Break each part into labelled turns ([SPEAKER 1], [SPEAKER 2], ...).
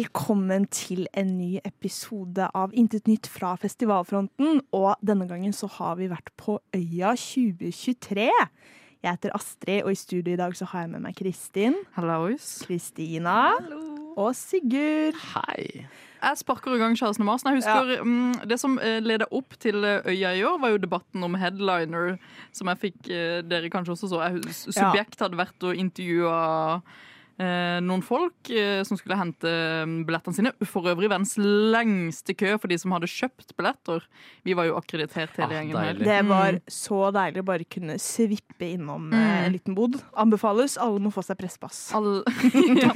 [SPEAKER 1] Velkommen til en ny episode av Intet nytt fra festivalfronten. Og denne gangen så har vi vært på Øya 2023. Jeg heter Astrid, og i studio i dag så har jeg med meg Kristin,
[SPEAKER 2] Hallois.
[SPEAKER 1] Kristina og Sigurd.
[SPEAKER 2] Hei. Jeg sparker i gang Charles Mars. Jeg husker mm, Det som eh, ledet opp til eh, Øya i år, var jo debatten om headliner, som jeg fikk eh, dere kanskje også så. Jeg, hus-
[SPEAKER 1] Ja.
[SPEAKER 2] subjekt hadde vært og intervjua eh, noen folk eh, som skulle hente mm, billettene sine. For øvrig verdens lengste kø for de som hadde kjøpt billetter. Vi var jo akkreditert hele
[SPEAKER 3] Ah,
[SPEAKER 2] gjengen.
[SPEAKER 3] deilig.
[SPEAKER 2] her.
[SPEAKER 1] Det var så deilig å bare kunne svippe innom eh, en liten bod. Anbefales. Alle må få seg presspass.
[SPEAKER 2] Alle- ja.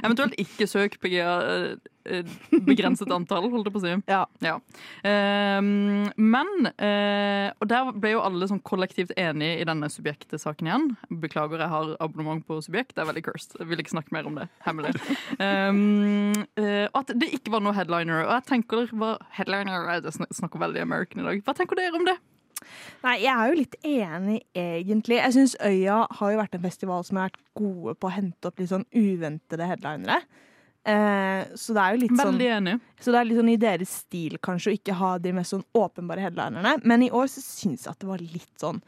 [SPEAKER 2] Eventuelt ikke søk PGA. eh, eh, Begrenset antall, holdt jeg på å si.
[SPEAKER 1] Ja.
[SPEAKER 2] Ja. Ehm, men eh, Og der ble jo alle sånn kollektivt enige i denne subjektesaken igjen. Beklager, jeg har abonnement på subjekt. Det er veldig cursed. Jeg vil ikke snakke mer om det. Hemmelig. Ehm, eh, og at det ikke var noe headliner. Og jeg tenker hva, Headliner Jeg sn- snakker veldig American i dag. Hva tenker dere om det?
[SPEAKER 1] Nei, jeg er jo litt enig, egentlig. Jeg syns Øya har jo vært en festival som har vært gode på å hente opp litt sånn uventede headlinere. Eh, så det er jo litt sånn
[SPEAKER 2] Veldig enig.
[SPEAKER 1] Så det er litt sånn i deres stil kanskje å ikke ha de mest sånn åpenbare headlinerne. Men i år så syns jeg at det var litt sånn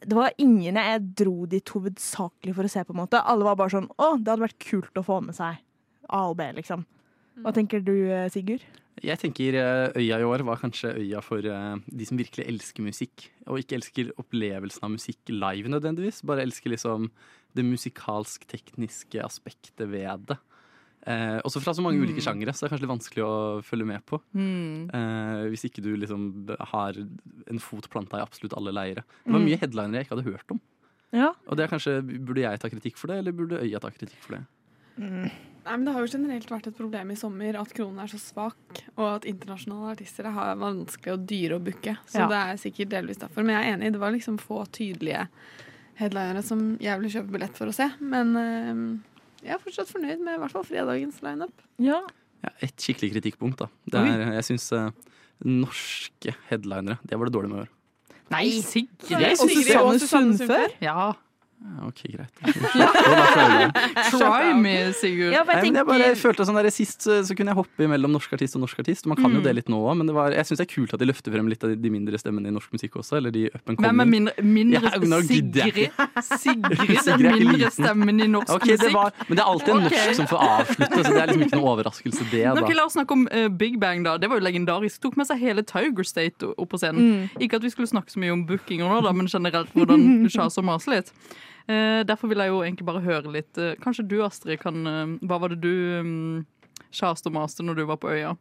[SPEAKER 1] Det var ingen jeg dro dit hovedsakelig for å se, på en måte. Alle var bare sånn Å, det hadde vært kult å få med seg A og B, liksom. Hva tenker du, eh, Sigurd?
[SPEAKER 3] Jeg tenker eh, Øya i år var kanskje øya for eh, de som virkelig elsker musikk. Og ikke elsker opplevelsen av musikk live nødvendigvis, bare elsker liksom det musikalsk-tekniske aspektet ved det. Eh, også fra så mange ulike sjangere, så det er kanskje litt vanskelig å følge med på.
[SPEAKER 1] Hmm.
[SPEAKER 3] Eh, hvis ikke du liksom har en fot planta i absolutt alle leire. Det var mye headlinere jeg ikke hadde hørt om.
[SPEAKER 1] Ja.
[SPEAKER 3] Og det er kanskje, Burde jeg ta kritikk for det, eller burde Øya ta kritikk for det?
[SPEAKER 4] Nei, men Det har jo generelt vært et problem i sommer at kronen er så svak, og at internasjonale artister har vanskelig å dyre og booke. Så
[SPEAKER 1] Ja.
[SPEAKER 4] det er sikkert delvis derfor. Men jeg er enig, det var liksom få tydelige headlinere som jeg ville kjøpe billett for å se. Men eh, jeg er fortsatt fornøyd med i hvert fall fredagens lineup.
[SPEAKER 1] ja.
[SPEAKER 3] Ja, et skikkelig kritikkpunkt, da. Det er, jeg syns norske headlinere Det var det dårlig med å gjøre.
[SPEAKER 2] Nei, sikkert.
[SPEAKER 1] Og
[SPEAKER 4] Sigrid og
[SPEAKER 1] Susanne
[SPEAKER 4] Susanne
[SPEAKER 1] Sundfør?
[SPEAKER 2] Ja.
[SPEAKER 3] Ja, ok, greit. Det var flere.
[SPEAKER 2] Try me, Sigurd.
[SPEAKER 1] Ja, for
[SPEAKER 3] Nei,
[SPEAKER 1] jeg
[SPEAKER 3] men jeg bare
[SPEAKER 1] tenker
[SPEAKER 3] følte sånn der, Sist så, så kunne jeg hoppe mellom norsk artist og norsk artist. Man kan
[SPEAKER 1] Mm.
[SPEAKER 3] jo det litt nå òg, men det var, jeg syns det er kult at de løfter frem litt av de mindre stemmene i norsk musikk også. Eller de up and
[SPEAKER 2] Hvem er
[SPEAKER 3] coming.
[SPEAKER 2] mindre, mindre
[SPEAKER 3] Ja, nå gidder
[SPEAKER 2] Sigrid?
[SPEAKER 3] jeg
[SPEAKER 2] Sigrid
[SPEAKER 3] Sigrid
[SPEAKER 2] er
[SPEAKER 3] er ikke
[SPEAKER 2] mindre
[SPEAKER 3] liten.
[SPEAKER 2] stemmen i norsk
[SPEAKER 3] Ok, det
[SPEAKER 2] musikk.
[SPEAKER 3] var, men det er alltid en
[SPEAKER 2] Ok.
[SPEAKER 3] norsk som får avslutte, så det er liksom ikke noe overraskelse, det. da.
[SPEAKER 2] Ok, La oss snakke om eh, Big Bang. da Det var jo legendarisk. Tok med seg hele Tiger State o- opp på scenen. Ikke at vi skulle snakke så mye om bookinger nå, da, men generelt hvordan sjas og mas litt. Eh, derfor vil jeg jo egentlig bare høre litt eh, Kanskje du, Astrid, kan eh, Hva var det du um, sjaste og maste når du var på øya?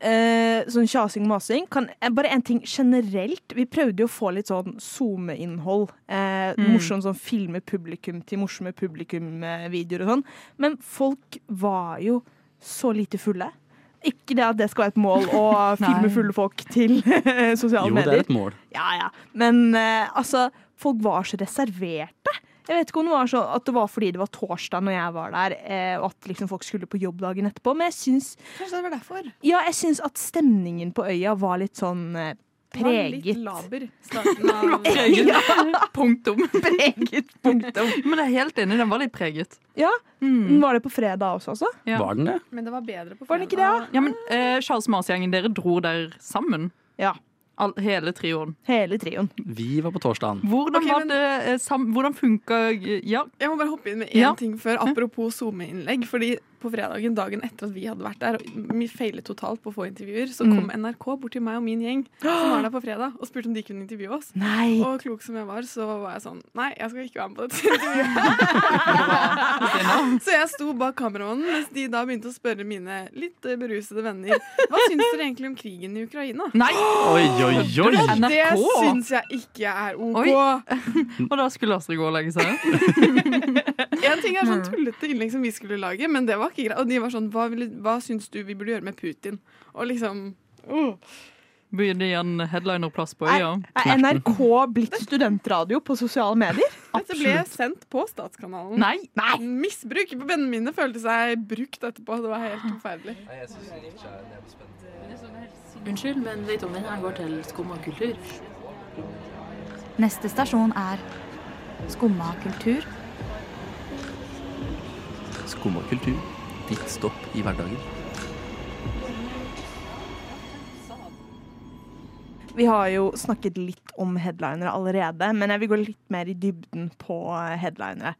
[SPEAKER 1] eh, sånn sjasing og masing kan, eh, Bare en ting generelt. Vi prøvde jo å få litt sånn SoMe-innhold. Eh, Morsom sånn filme publikum til morsomme publikum-videoer og sånn. Men folk var jo så lite fulle. Ikke det at det skal være et mål å
[SPEAKER 2] Nei.
[SPEAKER 1] filme fulle folk til sosiale
[SPEAKER 3] Jo, det
[SPEAKER 1] medier.
[SPEAKER 3] er et mål.
[SPEAKER 1] Ja, ja. Men eh, altså, folk var så reserverte. Jeg vet ikke om det var så, at det var fordi det var torsdag når jeg var der, eh, og at liksom folk skulle på jobb dagen etterpå, men jeg syns,
[SPEAKER 4] Kanskje det var derfor.
[SPEAKER 1] ja, jeg syns at stemningen på øya var litt sånn eh,
[SPEAKER 4] Det var Litt
[SPEAKER 1] preget.
[SPEAKER 4] laber. Starten av
[SPEAKER 2] Preget. Punktum.
[SPEAKER 1] Preget, punktum.
[SPEAKER 2] Men jeg er helt enig, den var litt preget.
[SPEAKER 1] Ja.
[SPEAKER 2] Mm.
[SPEAKER 1] Var det på fredag også, altså?
[SPEAKER 2] Ja.
[SPEAKER 3] Var den det?
[SPEAKER 4] Men det var bedre på
[SPEAKER 1] Var det ikke
[SPEAKER 4] fredag.
[SPEAKER 2] Ja, men eh, Charles Mars-gjengen, dere dro der sammen?
[SPEAKER 1] Ja.
[SPEAKER 2] All, hele trioen.
[SPEAKER 1] Hele trioen.
[SPEAKER 3] Vi var på torsdagen.
[SPEAKER 2] Hvordan,
[SPEAKER 4] Ok,
[SPEAKER 2] var
[SPEAKER 4] men-
[SPEAKER 2] det, eh, sam, hvordan funka eh, Ja,
[SPEAKER 4] Jeg må bare hoppe inn med én
[SPEAKER 2] Ja. Mm.
[SPEAKER 4] ting før, apropos SoMe-innlegg. Fordi på fredagen, dagen etter at vi hadde vært der, og vi feilet totalt på å få intervjuer, så kom
[SPEAKER 2] Mm.
[SPEAKER 4] NRK bort til meg og min gjeng som var der på fredag, og spurte om de kunne intervjue oss.
[SPEAKER 1] Nei.
[SPEAKER 4] Og klok som jeg var, så var jeg sånn Nei, jeg skal ikke være med på dette intervjuet. så jeg sto bak kameramannen mens de da begynte å spørre mine litt eh, berusede venner Hva syns dere egentlig om krigen i Ukraina?
[SPEAKER 2] Nei!
[SPEAKER 3] Oi, oi, oi!
[SPEAKER 2] NRK?
[SPEAKER 4] Det syns jeg ikke er OK.
[SPEAKER 2] Og da skulle Astrid gå og legge seg.
[SPEAKER 4] En ting er sånn tullete innlegg som vi skulle lage, men det var ikke greit. Og de var sånn Hva, ville, hva syns du vi burde gjøre med Putin? Og liksom åh.
[SPEAKER 2] Begynner igjen headlinerplass på
[SPEAKER 1] Er,
[SPEAKER 2] øya.
[SPEAKER 1] er NRK blitt studentradio på sosiale medier?
[SPEAKER 4] Dette ble sendt på Statskanalen.
[SPEAKER 2] Nei! Nei!
[SPEAKER 4] Misbruk. Vennene mine følte seg brukt etterpå. Det var helt forferdelig.
[SPEAKER 5] Unnskyld, men vet om denne går til skum og kultur?
[SPEAKER 6] Neste stasjon er Skumma kultur.
[SPEAKER 3] Skum og kultur. litt stopp i hverdagen.
[SPEAKER 1] Vi har jo snakket litt om headlinere allerede, men jeg vil gå litt mer i dybden på eh, headlinere.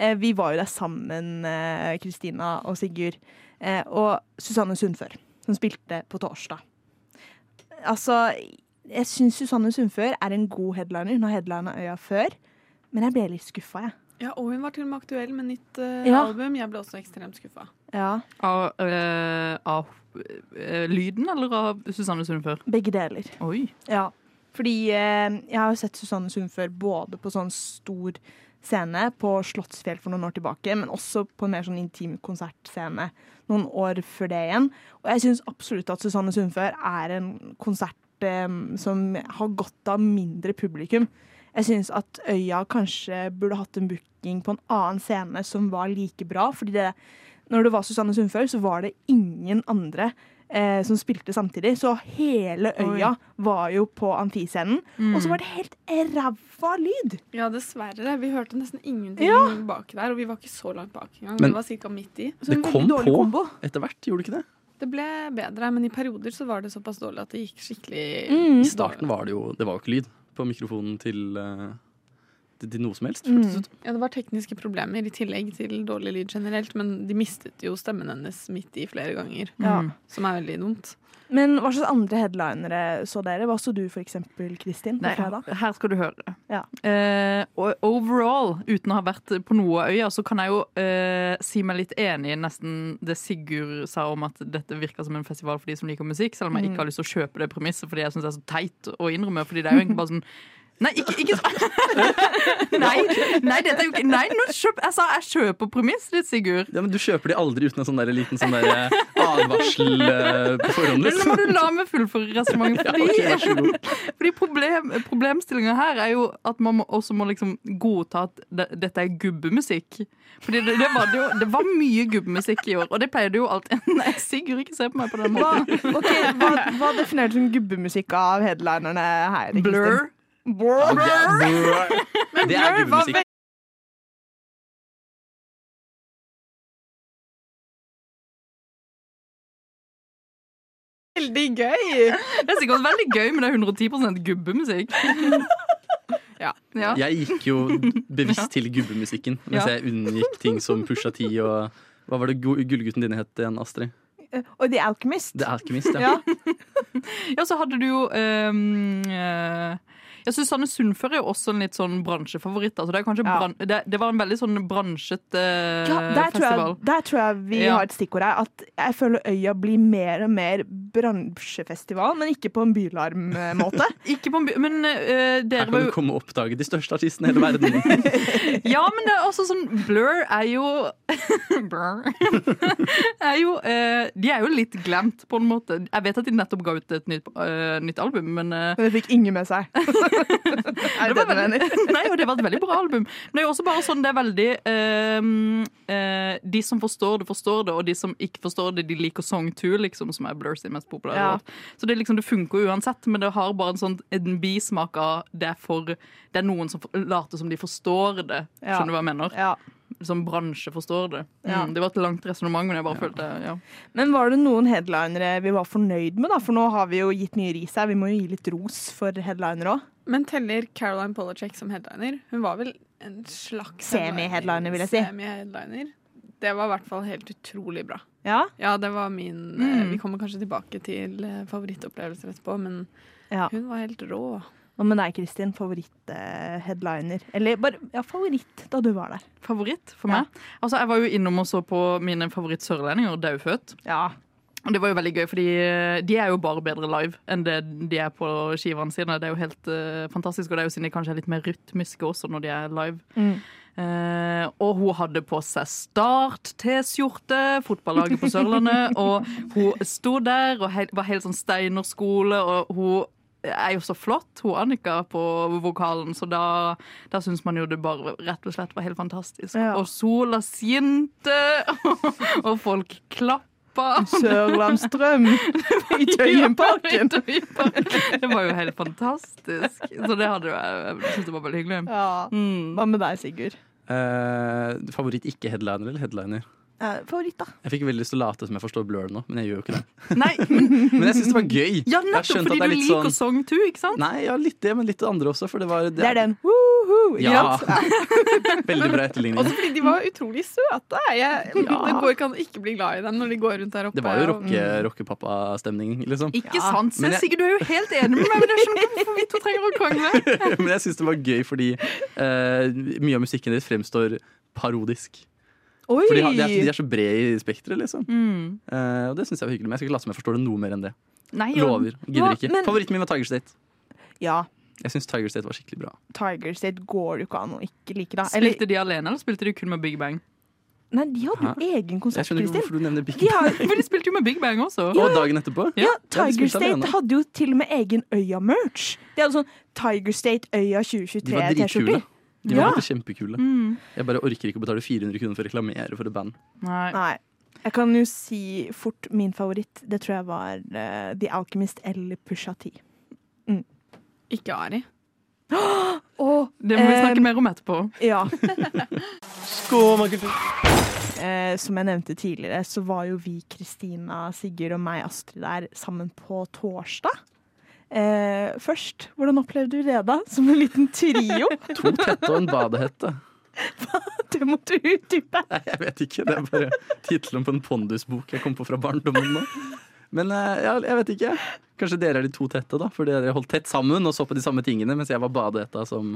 [SPEAKER 1] Eh, Vi var jo der sammen, eh, Kristina og Sigurd, eh, og Susanne Sundfør, som spilte på torsdag. Altså, jeg syns Susanne Sundfør er en god headliner. Hun har headlina Øya før, men jeg ble litt skuffa, jeg.
[SPEAKER 4] Ja, og hun var til og med aktuell med nytt eh,
[SPEAKER 1] Ja.
[SPEAKER 4] album. Jeg ble også ekstremt skuffa.
[SPEAKER 1] Ja,
[SPEAKER 2] Av, eh, av eh, lyden eller av Susanne Sundfør?
[SPEAKER 1] begge deler.
[SPEAKER 2] Oi.
[SPEAKER 1] Ja, fordi eh, jeg har jo sett Susanne Sundfør både på sånn stor scene på Slottsfjell for noen år tilbake, men også på en mer sånn intim konsertscene noen år før det igjen. Og jeg syns absolutt at Susanne Sundfør er en konsert eh, som har godt av mindre publikum. Jeg syns at Øya kanskje burde hatt en booking på en annen scene som var like bra, fordi det, når det var Susanne Sundfør, så var det ingen andre eh, som spilte samtidig. Så hele øya var jo på amfiscenen. Og
[SPEAKER 2] Mm.
[SPEAKER 1] så var det helt ræva lyd!
[SPEAKER 4] Ja, dessverre. Vi hørte nesten ingenting bak der, og vi var ikke så langt bak engang.
[SPEAKER 3] Men-
[SPEAKER 4] vi var cirka midt i.
[SPEAKER 1] Så en
[SPEAKER 3] Det
[SPEAKER 1] veldig
[SPEAKER 3] kom
[SPEAKER 1] dårlig
[SPEAKER 3] på.
[SPEAKER 1] kombo.
[SPEAKER 3] Etter hvert, gjorde det ikke det?
[SPEAKER 4] Det ble bedre, men i perioder så var det såpass dårlig at det gikk skikkelig
[SPEAKER 1] Mm.
[SPEAKER 3] I starten var det jo Det var jo ikke lyd på mikrofonen til, eh, til, til noe som helst.
[SPEAKER 1] Mm.
[SPEAKER 3] hørtes ut.
[SPEAKER 4] Ja, det var tekniske problemer i tillegg til dårlig lyd generelt, men de mistet jo stemmen hennes midt i flere ganger,
[SPEAKER 1] Ja.
[SPEAKER 2] Mm.
[SPEAKER 4] som er veldig dumt.
[SPEAKER 1] Men hva slags andre headlinere så dere? Hva så du for eksempel, Kristin? På
[SPEAKER 2] Nei,
[SPEAKER 1] fredag?
[SPEAKER 2] her skal du høre.
[SPEAKER 1] Ja.
[SPEAKER 2] Eh, og overall, uten å ha vært på noe øya, så kan jeg jo eh, si meg litt enig i nesten det Sigurd sa om at dette virker som en festival for de som liker musikk, selv om jeg ikke har lyst til å kjøpe det premisset fordi jeg syns det er så teit å innrømme. Fordi det er jo egentlig bare sånn Nei, ikke, ikke så nei, nei, dette er jo ikke Nei, nå kjøp, jeg sa jeg kjøper premiss litt, Sigurd.
[SPEAKER 3] Ja, men Du kjøper de aldri uten en sånn der liten sånn der advarsel eh, på forhånd.
[SPEAKER 2] Men nå må
[SPEAKER 3] Liksom.
[SPEAKER 2] du la meg fullføre resonnementet.
[SPEAKER 3] Ja,
[SPEAKER 2] fordi-
[SPEAKER 3] ok, vær så god.
[SPEAKER 2] Fordi problem, Problemstillinga her er jo at man må, også må liksom godta at det, dette er gubbemusikk. Fordi det, det, var det, jo, det var mye gubbemusikk i år, og det pleier det jo alltid Nei, Sigurd, ikke se på meg på den
[SPEAKER 1] Hva,
[SPEAKER 2] måten.
[SPEAKER 1] okay, hva, hva definerte som gubbemusikk av headlinerne her?
[SPEAKER 2] Blur.
[SPEAKER 1] Kristin?
[SPEAKER 3] Ja,
[SPEAKER 1] Blur.
[SPEAKER 3] det er- Det er gubbemusikk.
[SPEAKER 4] Veldig gøy!
[SPEAKER 2] Det er sikkert veldig gøy, men det er 110 gubbemusikk.
[SPEAKER 4] Ja.
[SPEAKER 2] ja.
[SPEAKER 3] Jeg gikk jo bevisst til gubbemusikken mens
[SPEAKER 2] Ja.
[SPEAKER 3] jeg unngikk ting som Pusha T og Hva var det gu- gullgutten din het igjen, Astrid?
[SPEAKER 1] Eh, Og The Alchemist.
[SPEAKER 3] The Alchemist, ja.
[SPEAKER 1] Ja.
[SPEAKER 2] Ja, så hadde du jo ehm, eh, ja, Susanne Sundfør er jo også en litt sånn bransjefavoritt. Altså det, er kanskje
[SPEAKER 1] Ja.
[SPEAKER 2] bran det, det var en veldig sånn bransjet eh,
[SPEAKER 1] Ja, der tror, jeg,
[SPEAKER 2] festival.
[SPEAKER 1] der tror jeg vi
[SPEAKER 2] Ja.
[SPEAKER 1] har et stikkord her. At jeg føler øya blir mer og mer bransjefestival, men ikke på en bylarm-måte.
[SPEAKER 2] Ikke på en by, men eh,
[SPEAKER 3] Her
[SPEAKER 2] dere var
[SPEAKER 3] kan
[SPEAKER 2] jo
[SPEAKER 3] du komme og oppdage de største artistene i hele verden.
[SPEAKER 2] Ja, men det er også sånn Blur er jo Blur er jo, eh, De er jo litt glemt, på en måte. Jeg vet at de nettopp ga ut et nytt, eh, nytt album, men eh,
[SPEAKER 1] Men det fikk ingen med seg. er det det du mener?
[SPEAKER 2] Nei, og det var et veldig bra album. Men det er jo også bare sånn det er veldig eh, eh, De som forstår det, forstår det, og de som ikke forstår det, de liker Song 2, liksom, som er Blur sin mest populære
[SPEAKER 1] Ja.
[SPEAKER 2] låt. Så det, er liksom, det funker jo uansett, men det har bare en sånn en bismak av det er for Det er noen som for- later som de forstår det.
[SPEAKER 1] Ja.
[SPEAKER 2] Skjønner du hva jeg mener?
[SPEAKER 1] Ja.
[SPEAKER 2] som bransje forstår det.
[SPEAKER 1] Ja.
[SPEAKER 2] Mm, det var et langt resonnement, men jeg bare følte ja.
[SPEAKER 1] Men var det noen headlinere vi var fornøyd med, da? For nå har vi jo gitt mye ris her. Vi må jo gi litt ros for headlinere òg.
[SPEAKER 4] Men teller Caroline Polachek som headliner? Hun var vel en slags
[SPEAKER 1] Semi-headliner, vil jeg si.
[SPEAKER 4] Semi-headliner. Det var i hvert fall helt utrolig bra.
[SPEAKER 1] Ja?
[SPEAKER 4] Ja, det var min eh,
[SPEAKER 2] Mm.
[SPEAKER 4] Vi kommer kanskje tilbake til eh, favorittopplevelser etterpå, men
[SPEAKER 1] Ja.
[SPEAKER 4] hun var helt rå.
[SPEAKER 1] Hva med deg, Kristin? Favoritt-headliner? Eller bare ja, favoritt da du var der.
[SPEAKER 2] Favoritt for
[SPEAKER 1] Ja.
[SPEAKER 2] meg? Altså, jeg var jo innom og så på mine favoritt-sørlendinger, Daufødt.
[SPEAKER 1] Ja.
[SPEAKER 2] Og det var jo veldig gøy, fordi eh, de er jo bare bedre live enn det de er på skivene sine. Det er jo helt eh, fantastisk, og det er jo siden de kanskje er litt mer rytmiske også når de er live.
[SPEAKER 1] Mm.
[SPEAKER 2] Eh, og hun hadde på seg Start-T-skjorte, fotballaget på Sørlandet, og hun sto der og hei- var helt sånn Steinerskole, og hun er jo så flott, hun Annika, på vokalen, så da, da syns man jo det bare rett og slett var helt fantastisk.
[SPEAKER 1] Ja.
[SPEAKER 2] Og sola skinte, og, og folk klappa.
[SPEAKER 1] Sørlandsstrøm i Tøyenparken.
[SPEAKER 2] Ja, i Tøyenparken. Det var jo helt fantastisk. Så det hadde jo jeg syntes det var veldig hyggelig.
[SPEAKER 1] Ja.
[SPEAKER 2] Mm.
[SPEAKER 1] Hva med deg, Sigurd?
[SPEAKER 3] Eh, favoritt ikke-headliner eller headliner?
[SPEAKER 1] eh, favoritt, da.
[SPEAKER 3] Jeg fikk veldig lyst til å late som jeg forstår Blur nå, men jeg gjør jo ikke det.
[SPEAKER 2] Nei, men,
[SPEAKER 3] Men jeg syns det var gøy.
[SPEAKER 2] ja,
[SPEAKER 3] Jeg har skjønt
[SPEAKER 2] nettopp fordi
[SPEAKER 3] at det er
[SPEAKER 2] du
[SPEAKER 3] litt
[SPEAKER 2] liker
[SPEAKER 3] sånn-
[SPEAKER 2] Song 2, ikke sant?
[SPEAKER 3] Nei, ja, litt det, men litt det andre også, for det var
[SPEAKER 1] Det er den. Woohoo, ikke
[SPEAKER 3] Ja.
[SPEAKER 1] sant?
[SPEAKER 3] Veldig bra etterligning.
[SPEAKER 4] Også fordi de var utrolig søte. Jeg, Det går ikke an å ikke bli glad i dem når de går rundt der oppe.
[SPEAKER 3] Det var jo
[SPEAKER 4] og-
[SPEAKER 3] rocke, rockepappa-stemning, liksom.
[SPEAKER 2] Ikke
[SPEAKER 1] Ja.
[SPEAKER 2] sant? Se,
[SPEAKER 3] Men jeg-
[SPEAKER 2] Sigurd, du er jo helt enig med meg, men jeg skjønner ikke hvorfor vi to trenger å krangle.
[SPEAKER 3] Men jeg syns det var gøy fordi eh, mye av musikken deres fremstår parodisk.
[SPEAKER 1] Oi!
[SPEAKER 3] For de, har- de, er, de er så brede i spekteret, liksom.
[SPEAKER 2] Mm.
[SPEAKER 3] Eh, og det syns jeg var hyggelig. Men jeg skal ikke late som jeg forstår det noe mer enn det.
[SPEAKER 2] Nei, og-
[SPEAKER 3] Lover. Gidder
[SPEAKER 1] Ja,
[SPEAKER 3] ikke.
[SPEAKER 1] men-
[SPEAKER 3] Favoritten min var Tiger State.
[SPEAKER 1] Ja,
[SPEAKER 3] Jeg syns Tiger State var skikkelig bra.
[SPEAKER 1] Tiger State går det jo ikke an å ikke like, da. Eller,
[SPEAKER 2] Spilte de alene, eller spilte de kun med Big Bang?
[SPEAKER 1] nei, de hadde jo egen
[SPEAKER 3] Jeg
[SPEAKER 1] konsert,
[SPEAKER 3] skjønner ikke
[SPEAKER 1] Kristin.
[SPEAKER 3] hvorfor du nevner Big
[SPEAKER 1] De har,
[SPEAKER 2] For de spilte jo med Big Bang også.
[SPEAKER 3] Og dagen etterpå?
[SPEAKER 1] ja,
[SPEAKER 3] de
[SPEAKER 1] Tiger
[SPEAKER 3] spilte alene.
[SPEAKER 1] State hadde jo til og med egen Øya-merch. De hadde sånn Tiger State Øya
[SPEAKER 3] De var
[SPEAKER 1] 2023-T-skjorter.
[SPEAKER 3] dritkule. De var
[SPEAKER 1] Ja.
[SPEAKER 3] alltid kjempekule.
[SPEAKER 2] Mm.
[SPEAKER 3] Jeg bare orker ikke å betale 400 kroner for å reklamere for et band.
[SPEAKER 2] Nei.
[SPEAKER 1] Nei. Jeg kan jo si fort min favoritt. Det tror jeg var eh, The Alchemist eller Pusha T.
[SPEAKER 4] Ikke Ari.
[SPEAKER 2] Det må vi
[SPEAKER 1] Eh,
[SPEAKER 2] snakke mer om etterpå.
[SPEAKER 1] Ja. Eh, som jeg nevnte tidligere, så var jo vi, Kristina, Sigurd og meg, Astrid, der sammen på torsdag. Eh, først, hvordan opplevde du det da? Som en liten trio?
[SPEAKER 3] To tette og en badehette.
[SPEAKER 1] Det måtte du utdype.
[SPEAKER 3] Nei, jeg vet ikke. Det er bare tittelen på en pondusbok jeg kom på fra barndommen nå. Men eh, ja, jeg vet ikke. Kanskje dere er de to tette, da. For dere holdt tett sammen og så på de samme tingene, mens jeg var badehetta som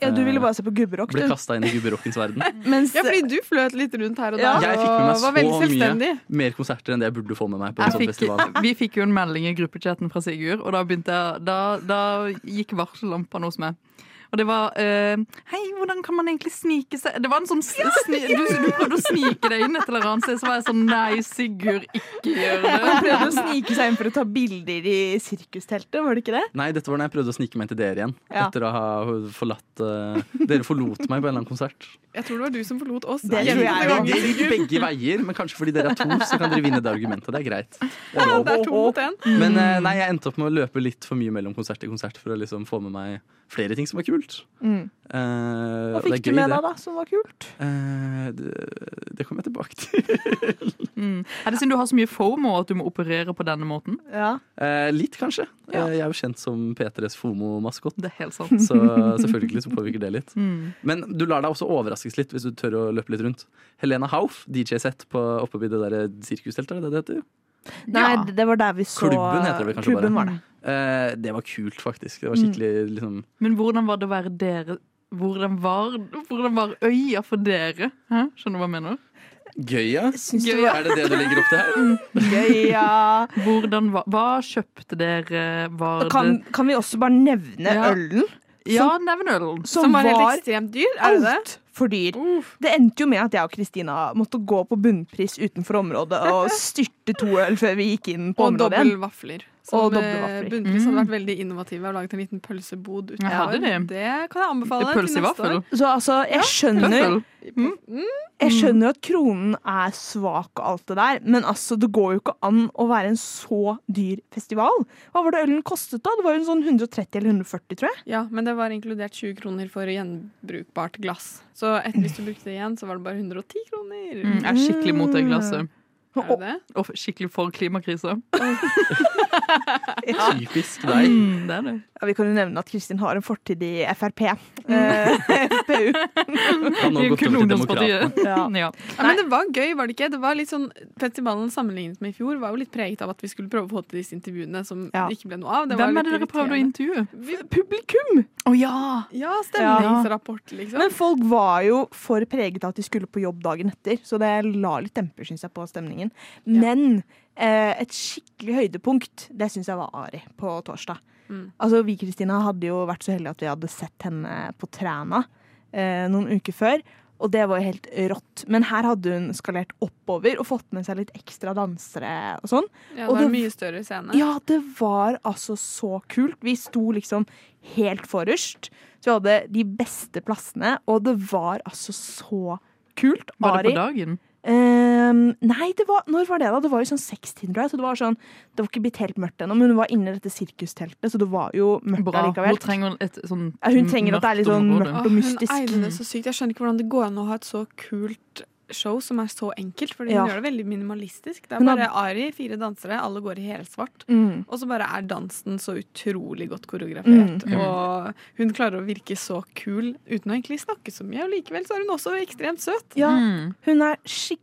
[SPEAKER 1] Ja, du ville bare se på gubberock,
[SPEAKER 3] ble
[SPEAKER 1] du.
[SPEAKER 3] kasta inn i gubberockens verden.
[SPEAKER 1] Mens,
[SPEAKER 4] Ja, fordi du fløt litt rundt her og
[SPEAKER 1] Ja.
[SPEAKER 4] der
[SPEAKER 3] Jeg fikk med meg
[SPEAKER 4] og var veldig
[SPEAKER 3] så mye.
[SPEAKER 4] selvstendig.
[SPEAKER 3] Mer konserter enn det jeg burde få med meg på en
[SPEAKER 2] Jeg
[SPEAKER 3] sånn
[SPEAKER 2] fikk,
[SPEAKER 3] festival.
[SPEAKER 2] vi fikk jo en melding i gruppechatten fra Sigurd, og da, begynte jeg, da, da gikk varsellampene hos meg. Og det var eh, Hei, hvordan kan man egentlig snike seg Det var en sånn s- sni, du, du prøvde å snike deg inn et eller annet sted, så var jeg sånn Nei, Sigurd, ikke gjør det.
[SPEAKER 1] Han prøvde å snike seg inn for å ta bilder i sirkusteltet, var det ikke det?
[SPEAKER 3] Nei, dette var da jeg prøvde å snike meg inn til dere igjen.
[SPEAKER 1] Ja.
[SPEAKER 3] Etter å ha forlatt eh, Dere forlot meg på en eller annen konsert.
[SPEAKER 4] Jeg tror det var du som forlot oss.
[SPEAKER 1] Det tror
[SPEAKER 4] Gjentatte
[SPEAKER 1] jeg
[SPEAKER 3] Det
[SPEAKER 1] også.
[SPEAKER 4] ganger.
[SPEAKER 3] gikk begge veier, men kanskje fordi dere er to, så kan dere vinne det argumentet. Det er greit. Det er
[SPEAKER 4] Ja,
[SPEAKER 3] lov.
[SPEAKER 4] det er to mot én.
[SPEAKER 3] Men eh, nei, jeg endte opp med å løpe litt for mye mellom konsert til konsert for å liksom få med meg flere ting som var kult.
[SPEAKER 1] Mm.
[SPEAKER 3] Eh,
[SPEAKER 1] Hva
[SPEAKER 3] og det er
[SPEAKER 1] fikk du
[SPEAKER 3] gøy,
[SPEAKER 1] med
[SPEAKER 3] det.
[SPEAKER 1] deg da, som var kult?
[SPEAKER 3] Eh, det, det kommer jeg tilbake til.
[SPEAKER 2] Mm. Er det siden du har så mye fomo at du må operere på denne måten?
[SPEAKER 1] Ja.
[SPEAKER 3] Eh, litt, kanskje.
[SPEAKER 2] Ja.
[SPEAKER 3] Eh, jeg er jo kjent som P3s FOMO-maskot,
[SPEAKER 2] Det er helt sant.
[SPEAKER 3] så selvfølgelig så påvirker det litt.
[SPEAKER 2] Mm.
[SPEAKER 3] Men du lar deg også overraskes litt hvis du tør å løpe litt rundt. Helena Hauff, DJ-sett oppe ved det der sirkusteltet, er det det heter?
[SPEAKER 1] Nei,
[SPEAKER 2] Ja.
[SPEAKER 1] det var der vi så
[SPEAKER 3] Klubben heter det vel kanskje
[SPEAKER 1] Klubben var
[SPEAKER 3] bare.
[SPEAKER 1] det.
[SPEAKER 3] Eh, det var kult, faktisk. Det var
[SPEAKER 2] Mm.
[SPEAKER 3] skikkelig liksom
[SPEAKER 2] Men hvordan var det å være dere? Hvordan var, hvordan var øya for dere? Hæ? Skjønner du hva jeg mener?
[SPEAKER 3] gøy, ja.
[SPEAKER 1] Syns du
[SPEAKER 2] Gøy, ja.
[SPEAKER 3] Er det det du legger opp til her?
[SPEAKER 2] Mm.
[SPEAKER 1] det var gøy, ja.
[SPEAKER 2] Hvordan var, hva kjøpte dere? Var
[SPEAKER 1] Kan, kan vi også bare nevne
[SPEAKER 2] Ja.
[SPEAKER 1] ølen?
[SPEAKER 2] det Ja, nevn ølen.
[SPEAKER 1] Som,
[SPEAKER 4] Som var
[SPEAKER 1] var,
[SPEAKER 4] helt ekstremt dyr. Er det det?
[SPEAKER 1] alt for dyr. Det endte jo med at jeg og Kristina måtte gå på bunnpris utenfor området og styrte to øl før vi gikk inn på
[SPEAKER 4] Og
[SPEAKER 1] området igjen.
[SPEAKER 4] dobbelvafler. Som
[SPEAKER 1] Og
[SPEAKER 4] eh,
[SPEAKER 1] dobbelvafler.
[SPEAKER 4] Bunnpris hadde vært veldig innovative og laget en liten pølsebod utenfor.
[SPEAKER 2] Ja, det er det.
[SPEAKER 4] kan jeg
[SPEAKER 2] Det
[SPEAKER 4] anbefale
[SPEAKER 2] er pølse i vaffel.
[SPEAKER 1] Så altså, jeg skjønner,
[SPEAKER 2] Pølse.
[SPEAKER 1] jeg skjønner at kronen er svak og alt det der, men altså, det går jo ikke an å være en så dyr festival. Hva var det ølen kostet da? Det var jo en sånn 130 eller 140, tror jeg.
[SPEAKER 4] Ja, men det var inkludert 20 kroner for gjenbrukbart glass. Så et, hvis du brukte det igjen, så var det bare 110 kroner.
[SPEAKER 2] Mm, jeg er skikkelig mot det glasset.
[SPEAKER 4] Er det det?
[SPEAKER 2] Og skikkelig for klimakrisa.
[SPEAKER 3] Typisk deg.
[SPEAKER 2] Mm, det er det.
[SPEAKER 1] Ja, vi kan jo nevne at Kristin har en fortid i Frp. Eh, FPU.
[SPEAKER 2] Kun
[SPEAKER 3] Han har gått over til Demokratene.
[SPEAKER 2] ungdomspartiet.
[SPEAKER 1] Ja.
[SPEAKER 2] Ja.
[SPEAKER 4] Ja, men det var gøy, var det ikke? Det var litt sånn, Festivalen sammenlignet med i fjor var jo litt preget av at vi skulle prøve å få til disse intervjuene som
[SPEAKER 1] Ja.
[SPEAKER 4] det ikke ble noe av. Det var
[SPEAKER 2] Hvem er
[SPEAKER 4] litt
[SPEAKER 2] det dere prøvde å
[SPEAKER 4] irriterende.
[SPEAKER 2] intervjue?
[SPEAKER 1] Publikum!
[SPEAKER 2] Å ja!
[SPEAKER 4] Ja, stemningsrapport, liksom.
[SPEAKER 1] Men folk var jo for preget av at de skulle på jobb dagen etter, så det la litt demper synes jeg, på stemningen. Men eh, et skikkelig høydepunkt, det syns jeg var Ari på torsdag.
[SPEAKER 4] Mm.
[SPEAKER 1] Altså, Vi Kristina hadde jo vært så heldige at vi hadde sett henne på Træna eh, noen uker før. Og det var jo helt rått. Men her hadde hun skalert oppover og fått med seg litt ekstra dansere og sånn.
[SPEAKER 4] ja,
[SPEAKER 1] og
[SPEAKER 4] det var
[SPEAKER 1] det-
[SPEAKER 4] mye større scene.
[SPEAKER 1] Ja, det var altså så kult. Vi sto liksom helt forrest. Så vi hadde de beste plassene, og det var altså så kult.
[SPEAKER 2] Var det
[SPEAKER 1] Ari-
[SPEAKER 2] på dagen?
[SPEAKER 1] Ehm, nei, det var, når var det da? Det var jo sånn sekstimer, tror jeg, så det var sånn, det var ikke blitt helt mørkt ennå, men hun var inne i dette sirkusteltet, så det var jo mørkt
[SPEAKER 2] Bra.
[SPEAKER 1] allikevel.
[SPEAKER 2] Hun trenger et sånn
[SPEAKER 1] Ja, hun trenger at det er litt sånn
[SPEAKER 2] område.
[SPEAKER 1] mørkt.
[SPEAKER 4] Åh,
[SPEAKER 1] og mystisk.
[SPEAKER 4] Hun eide det så sykt. Jeg skjønner ikke hvordan det går an å ha et så kult show som er så enkelt, fordi
[SPEAKER 1] Ja.
[SPEAKER 4] hun gjør det veldig minimalistisk. Det er
[SPEAKER 1] Hun har-
[SPEAKER 4] bare Ari, fire dansere, alle går i helsvart.
[SPEAKER 1] Mm.
[SPEAKER 4] Og så bare er dansen så utrolig godt koreografert.
[SPEAKER 3] Mm.
[SPEAKER 4] Og hun klarer å virke så kul uten å egentlig snakke så mye. Og likevel så er hun også ekstremt søt.
[SPEAKER 1] Ja,
[SPEAKER 2] Mm.
[SPEAKER 1] hun er skikkelig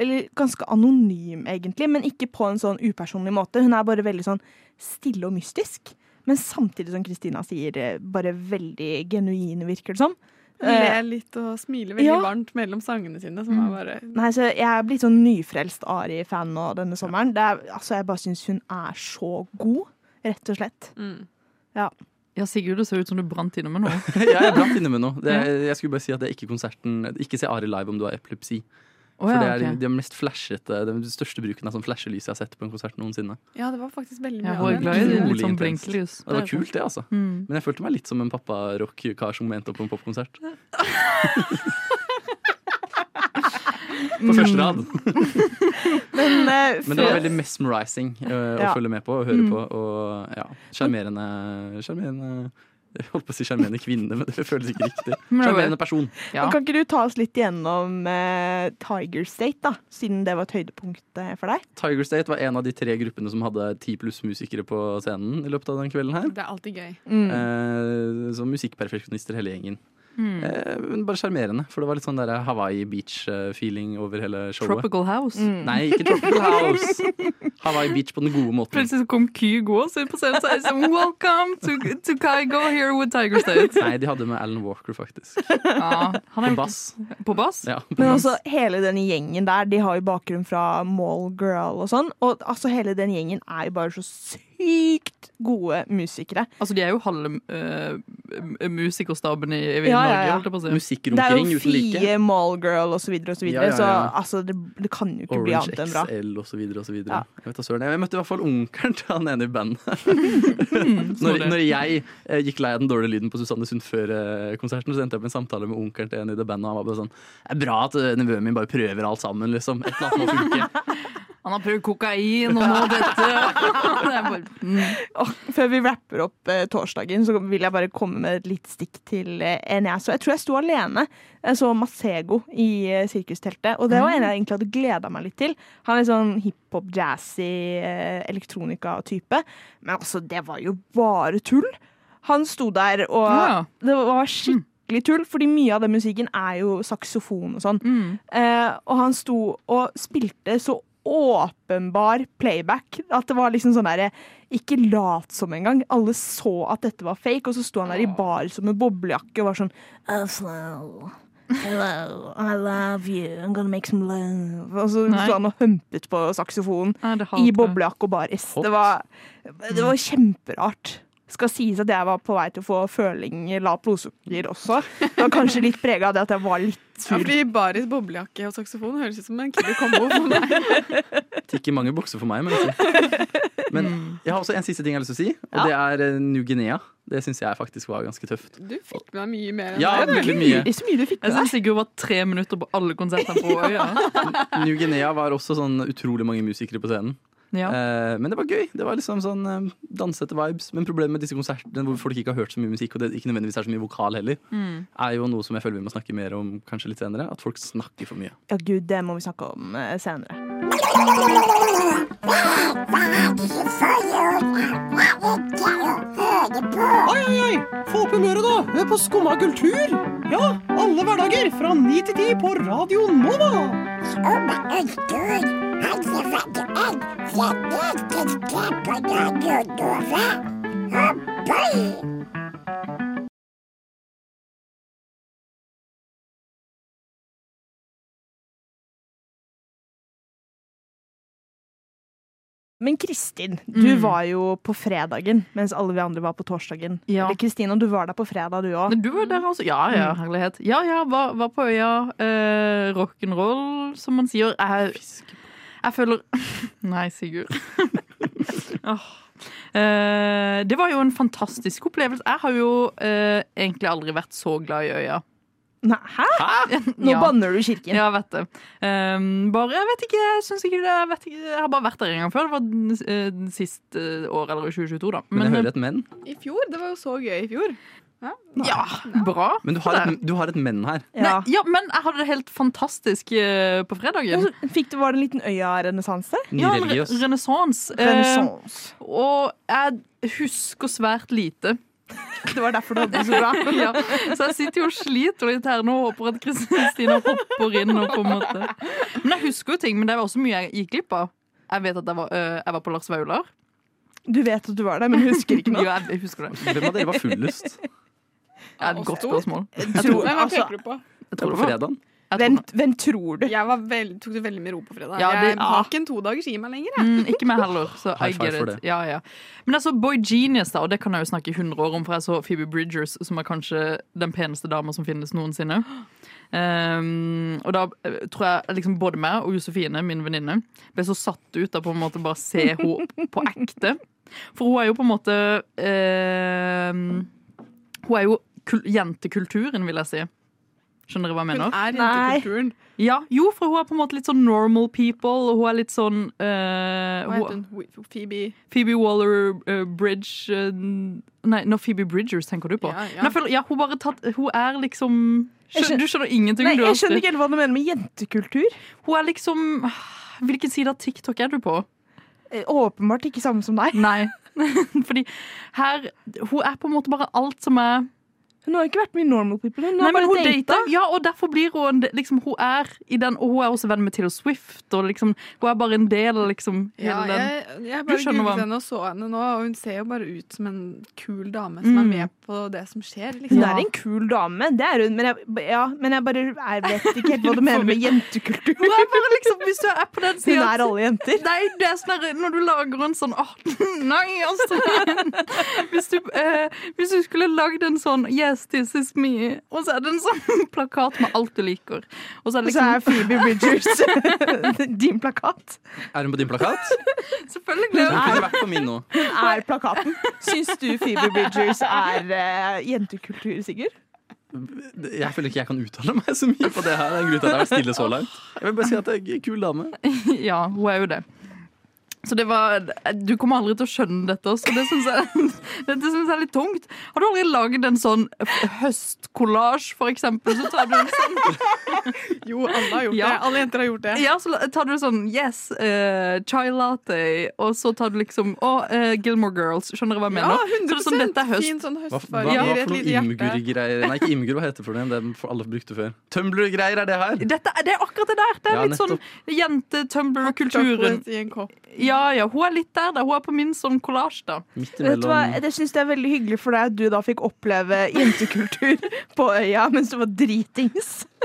[SPEAKER 1] Eller ganske anonym, egentlig, men ikke på en sånn upersonlig måte. Hun er bare veldig sånn stille og mystisk. Men samtidig, som Kristina sier, eh, bare veldig genuin, virker det som.
[SPEAKER 4] Hun
[SPEAKER 1] Eh,
[SPEAKER 4] ler litt og smiler veldig
[SPEAKER 1] ja.
[SPEAKER 4] varmt mellom sangene sine. Som er bare
[SPEAKER 1] Nei, så Jeg er blitt sånn nyfrelst Ari-fan nå denne sommeren. Det er, altså, Jeg bare syns hun er så god, rett og slett.
[SPEAKER 4] mm.
[SPEAKER 2] Ja, Sigurd, det ser ut som du brant inne med noe.
[SPEAKER 3] Ja, jeg brant inne med noe. Det, jeg skulle bare si at det er ikke konserten Ikke se Ari live om du har epilepsi.
[SPEAKER 2] Oh,
[SPEAKER 3] For
[SPEAKER 2] ja,
[SPEAKER 3] det er
[SPEAKER 2] ok.
[SPEAKER 3] de mest flashete, den største bruken av sånn flashelys jeg har sett på en konsert noensinne.
[SPEAKER 4] Ja, det var faktisk veldig
[SPEAKER 2] Ja,
[SPEAKER 4] mye
[SPEAKER 2] hun er
[SPEAKER 4] av
[SPEAKER 2] glad i det.
[SPEAKER 4] den.
[SPEAKER 3] Utrolig
[SPEAKER 2] Litt sånn
[SPEAKER 3] intenst.
[SPEAKER 2] blinkelys.
[SPEAKER 3] Det var kult, det, altså.
[SPEAKER 2] Mm.
[SPEAKER 3] Men jeg følte meg litt som en papparock-kar som endte opp på en popkonsert. På første
[SPEAKER 2] Mm.
[SPEAKER 3] rad.
[SPEAKER 1] Men, eh,
[SPEAKER 3] Men det var
[SPEAKER 1] før-
[SPEAKER 3] veldig mesmerizing eh, å
[SPEAKER 1] Ja.
[SPEAKER 3] følge med på og høre
[SPEAKER 2] Mm.
[SPEAKER 3] på. Og ja, sjarmerende Sjarmerende Jeg holdt på å si sjarmerende kvinne, men det føles ikke riktig.
[SPEAKER 2] Men det var-
[SPEAKER 3] Sjarmerende person.
[SPEAKER 2] Ja.
[SPEAKER 1] Kan ikke du ta oss litt gjennom eh, Tiger State, da? Siden det var et høydepunkt eh, for deg.
[SPEAKER 3] Tiger State var en av de tre gruppene som hadde ti pluss musikere på scenen i løpet av den kvelden her.
[SPEAKER 4] Det er alltid gøy.
[SPEAKER 2] Mm.
[SPEAKER 3] Eh, så musikkperfeksjonister hele gjengen.
[SPEAKER 2] mm.
[SPEAKER 3] Eh, men bare sjarmerende, for det var litt sånn der Hawaii beach-feeling over hele showet.
[SPEAKER 2] Tropical House.
[SPEAKER 1] Mm.
[SPEAKER 3] Nei, ikke Tropical House! Hawaii beach på den gode måten.
[SPEAKER 2] Plutselig så kom Kygo også inn på scenen og sa sånn, Welcome to, to Kygo here with Tiger State.
[SPEAKER 3] Nei, de hadde med Alan Walker, faktisk.
[SPEAKER 2] Ja, han
[SPEAKER 3] På
[SPEAKER 2] er jo
[SPEAKER 3] bass.
[SPEAKER 2] på bass.
[SPEAKER 3] Ja, på
[SPEAKER 1] Men
[SPEAKER 3] bass.
[SPEAKER 1] altså, hele den gjengen der, de har jo bakgrunn fra Mall Girl og sånn. Og altså, hele den gjengen er jo bare så sykt gode musikere.
[SPEAKER 2] Altså, de er jo halve eh, m- musikerstaben i, i Norge,
[SPEAKER 1] Ja, ja, ja.
[SPEAKER 2] holdt jeg på å si.
[SPEAKER 3] Altså,
[SPEAKER 1] Det er
[SPEAKER 3] Musikkrunkering
[SPEAKER 1] jo
[SPEAKER 3] uten like.
[SPEAKER 1] Fie, Mall Girl og så videre og så videre.
[SPEAKER 3] Ja, ja, ja.
[SPEAKER 1] Så altså, det, det kan jo ikke bli
[SPEAKER 3] Orange
[SPEAKER 1] annet enn bra.
[SPEAKER 3] XL og så videre og så videre.
[SPEAKER 1] Ja.
[SPEAKER 3] Jeg, vet da søren. jeg møtte i hvert fall onkelen til han ene i bandet. når,
[SPEAKER 2] snodig.
[SPEAKER 3] når jeg eh, gikk lei av den dårlige lyden på Susanne Sund før eh, konserten, så endte jeg opp med en samtale med onkelen til en i det bandet, og han var bare sånn Det er bra at eh, nevøen min bare prøver alt sammen, liksom. Et eller annet må funke.
[SPEAKER 2] Han har prøvd kokain og nå dette. Det er bare, mm.
[SPEAKER 1] Og før vi rapper opp eh, torsdagen, så vil jeg bare komme med et litt stikk til eh, en jeg så. Jeg tror jeg sto alene. Jeg så Masego i eh, sirkusteltet, og det var en jeg egentlig hadde gleda meg litt til. Han er litt sånn hiphop, jazzy, eh, elektronika-type. Men altså, det var jo bare tull. Han sto der, og
[SPEAKER 2] Ja. Mm.
[SPEAKER 1] det var skikkelig tull, fordi mye av den musikken er jo saksofon og sånn.
[SPEAKER 2] Mm.
[SPEAKER 1] Eh, og han sto og spilte så åpenbar playback at det var liksom sånn derre Ikke lat som engang. Alle så at dette var fake, og så sto han der i bar som en boblejakke og var sånn Oslo. Hello, I love you, I'm gonna make some love. Og så
[SPEAKER 2] Nei.
[SPEAKER 1] sto han og humpet på saksofonen
[SPEAKER 2] Nei, det hater
[SPEAKER 1] i
[SPEAKER 2] jeg.
[SPEAKER 1] boblejakke og baris.
[SPEAKER 3] Hot.
[SPEAKER 1] Det var, det var kjemperart. Skal sies at jeg var på vei til å få føling lavt blodsukker også. Det var kanskje litt prega av det at jeg var litt
[SPEAKER 4] Ja,
[SPEAKER 1] sur.
[SPEAKER 4] fordi baris, boblejakke og saksofon høres ut som en kul kombo for meg.
[SPEAKER 3] Tikk i mange bukser for meg, men altså. Men jeg har også en siste ting jeg har lyst til å si, og det er eh, New Guinea. Det syns jeg faktisk var ganske tøft.
[SPEAKER 4] Du fikk med deg mye mer enn
[SPEAKER 3] Ja,
[SPEAKER 4] meg.
[SPEAKER 3] veldig mye.
[SPEAKER 1] Det er så mye du fikk
[SPEAKER 2] Jeg
[SPEAKER 1] med deg.
[SPEAKER 2] syns Sigurd var tre minutter på alle konsertene på øya.
[SPEAKER 3] New Guinea var også sånn utrolig mange musikere på scenen.
[SPEAKER 2] Ja.
[SPEAKER 3] Eh, men det var gøy. Det var liksom sånn eh, dansete vibes. Men problemet med disse konsertene hvor folk ikke har hørt så mye musikk, og det ikke nødvendigvis er så mye vokal heller,
[SPEAKER 2] Mm.
[SPEAKER 3] er jo noe som jeg føler vi må snakke mer om kanskje litt senere. At folk snakker for mye.
[SPEAKER 1] Ja, gud, det må vi snakke om eh, senere.
[SPEAKER 6] Oi, oi, oi! Få opp humøret, da! Hør på Skumma kultur! Ja, alle hverdager fra ni til ti på Radio Nova!
[SPEAKER 1] Men Kristin, du
[SPEAKER 2] Mm.
[SPEAKER 1] var jo på fredagen, mens alle vi andre var på torsdagen.
[SPEAKER 2] Ja.
[SPEAKER 1] Eller Kristina, du var der på fredag, du òg.
[SPEAKER 2] Men du var jo der også. Ja, ja, herlighet. Ja, ja, var, var på øya. Eh, Rock'n'roll, som man sier. Jeg, jeg føler Nei, Sigurd. Åh. Eh, det var jo en fantastisk opplevelse. Jeg har jo eh, egentlig aldri vært så glad i øya.
[SPEAKER 1] Nei, Hæ? Nå
[SPEAKER 2] Ja.
[SPEAKER 1] banner du i kirken.
[SPEAKER 2] Ja, jeg vet det. Ehm, bare, jeg vet ikke, jeg syns ikke det. Jeg, vet ikke, jeg har bare vært der en gang før. Det var eh, sist eh, år, eller i 2022, da.
[SPEAKER 3] Men,
[SPEAKER 2] Men,
[SPEAKER 3] jeg hører et men.
[SPEAKER 4] I fjor, Det var jo så gøy i fjor.
[SPEAKER 2] eh, Ja, bra.
[SPEAKER 3] Men du har, et, du har et menn her.
[SPEAKER 1] Ja.
[SPEAKER 2] Nei, ja, men jeg hadde det helt fantastisk eh, på fredagen.
[SPEAKER 1] Og så Fikk du, var det en liten øya-renessanse?
[SPEAKER 2] Ja,
[SPEAKER 3] Nyreligiøs.
[SPEAKER 2] renessanse. Eh,
[SPEAKER 1] Renaissance.
[SPEAKER 2] og jeg husker svært lite.
[SPEAKER 1] Det var derfor du hadde det så bra.
[SPEAKER 2] Ja. Så jeg sitter jo og sliter litt her nå og håper at Kristina hopper inn. Og på en måte. Men jeg husker jo ting, men det var også mye jeg gikk glipp av. Jeg vet at jeg var, eh, jeg var på Lars Vaular.
[SPEAKER 1] Du vet at du var der, men husker ikke
[SPEAKER 2] Jo,
[SPEAKER 1] noe.
[SPEAKER 2] jeg husker det.
[SPEAKER 3] Hvem av dere var fullest?
[SPEAKER 2] Det er et godt
[SPEAKER 4] Oss to?
[SPEAKER 2] spørsmål.
[SPEAKER 1] Jeg
[SPEAKER 4] Nei,
[SPEAKER 1] tror,
[SPEAKER 4] hva
[SPEAKER 1] altså,
[SPEAKER 4] peker du på?
[SPEAKER 2] Jeg
[SPEAKER 3] På
[SPEAKER 2] tror det var.
[SPEAKER 3] fredagen?
[SPEAKER 2] Jeg tror
[SPEAKER 1] hvem,
[SPEAKER 2] det.
[SPEAKER 1] hvem tror du?
[SPEAKER 4] Jeg var veld, tok det veldig med ro på fredag.
[SPEAKER 2] Ja, det-
[SPEAKER 4] jeg har ikke en todagers i meg lenger. Jeg.
[SPEAKER 2] Mm, ikke meg heller. Så I
[SPEAKER 3] High five
[SPEAKER 2] get
[SPEAKER 3] for
[SPEAKER 2] it.
[SPEAKER 3] det.
[SPEAKER 2] Ja, ja. Men jeg så Boy Genius, da, og det kan jeg jo snakke i 100 år om, for jeg så Phoebe Bridgers, som er kanskje den peneste dama som finnes noensinne. Um, og da eh, tror jeg liksom både meg og Josefine, min venninne, ble så satt ut av på en måte bare se henne på ekte. For hun er jo på en måte eh, Hun er jo kul jentekulturen, vil jeg si. Skjønner dere hva jeg
[SPEAKER 4] Hun
[SPEAKER 2] mener?
[SPEAKER 4] er
[SPEAKER 1] Nei.
[SPEAKER 4] jentekulturen.
[SPEAKER 2] Ja, jo, for hun er på en måte litt sånn normal people, og hun er litt sånn eh,
[SPEAKER 4] Hva heter hun? Wh- Phoebe
[SPEAKER 2] Phoebe Waller eh, Bridge eh, Nei, nå Phoebe Bridgers tenker du på.
[SPEAKER 4] Ja, ja.
[SPEAKER 2] Men jeg føler, ja, hun, bare tatt, hun er liksom
[SPEAKER 1] Jeg skjøn-
[SPEAKER 2] skjøn, Du skjønner ingenting.
[SPEAKER 1] Nei,
[SPEAKER 2] du,
[SPEAKER 1] jeg
[SPEAKER 2] Astrid.
[SPEAKER 1] skjønner ikke helt hva du mener med jentekultur.
[SPEAKER 2] Hun er liksom Hvilken side av TikTok er du på?
[SPEAKER 1] Eh, Åpenbart ikke samme som deg.
[SPEAKER 2] Nei. Fordi her Hun er på en måte bare alt som er
[SPEAKER 1] Hun har ikke vært mye normal people. Hun
[SPEAKER 2] Nei,
[SPEAKER 1] har
[SPEAKER 2] men
[SPEAKER 1] bare
[SPEAKER 2] hun
[SPEAKER 1] data.
[SPEAKER 2] dater. Ja, og derfor blir hun en de- liksom, Hun er i den, og hun er også venn med Taylor Swift, og liksom Hun er bare en del av liksom
[SPEAKER 4] Ja,
[SPEAKER 2] hele den
[SPEAKER 4] jeg, jeg bare
[SPEAKER 2] Du skjønner hva-
[SPEAKER 4] googlet henne og så henne nå, og hun ser jo bare ut som en kul dame som er
[SPEAKER 2] Mm.
[SPEAKER 4] med på det som skjer.
[SPEAKER 1] Hun
[SPEAKER 4] Liksom.
[SPEAKER 2] Ja.
[SPEAKER 1] er en kul dame, det er hun, men jeg, ja, men jeg bare jeg vet ikke helt hva du mener med jentekultur.
[SPEAKER 2] Hun er bare liksom Hvis du er på den
[SPEAKER 1] Hun
[SPEAKER 2] siden
[SPEAKER 1] er alle jenter.
[SPEAKER 2] Nei, det er sånn der, når du lager en sånn åh, Nei, Astrid! Hvis du, eh, hvis du skulle lagd en sånn Yes, this is me. Og så er det en sånn plakat med alt du liker. Og så er det
[SPEAKER 1] Og så er
[SPEAKER 2] liksom,
[SPEAKER 1] Phoebe Bridgers din plakat.
[SPEAKER 3] Er hun på din plakat?
[SPEAKER 2] selvfølgelig
[SPEAKER 3] Hun
[SPEAKER 2] er
[SPEAKER 3] kunne vært på min nå.
[SPEAKER 1] Hun er plakaten. Syns du Phoebe Bridgers er eh, jentekultur, Sigurd?
[SPEAKER 3] Jeg føler ikke jeg kan uttale meg så mye på det her. Det er en grunn til at jeg har vært stille så langt. Jeg vil bare si at det er en kul dame.
[SPEAKER 2] det- Ja, hun er jo det. Så det var Du kommer aldri til å skjønne dette, så det syns jeg, dette synes jeg er litt tungt. Har du aldri laget en sånn høstkollasj, for eksempel? Så tar du en sånn
[SPEAKER 4] Jo, alle har gjort
[SPEAKER 2] Ja.
[SPEAKER 4] det. Alle jenter har gjort det.
[SPEAKER 2] Ja, så la- tar du sånn Yes, eh, chai latte. Og så tar du liksom Å, eh, Gilmore Girls. Skjønner du hva jeg mener? Så det er sånn, dette er høst.
[SPEAKER 4] Fin sånn
[SPEAKER 3] Hva, hva,
[SPEAKER 4] høstfarge
[SPEAKER 3] hva
[SPEAKER 4] i
[SPEAKER 3] for
[SPEAKER 4] et
[SPEAKER 3] noen
[SPEAKER 4] lite hjerte.
[SPEAKER 3] Imgur-greier? Nei, ikke Imgur, hva heter det for noe? Det er for alle brukte før. Tumblr-greier er det her.
[SPEAKER 2] Dette, er- det er akkurat det der! Det er
[SPEAKER 3] Ja,
[SPEAKER 2] litt sånn jente-tumblr-kulturen.
[SPEAKER 4] Chocolate i en kopp.
[SPEAKER 2] Ja, ja, hun er litt der, da. Hun er på min sånn kollasj, da.
[SPEAKER 3] Midt
[SPEAKER 1] Vet du hva?
[SPEAKER 3] imellom.
[SPEAKER 1] Jeg syns det er veldig hyggelig for deg at du da fikk oppleve jentekultur på øya mens du var dritings.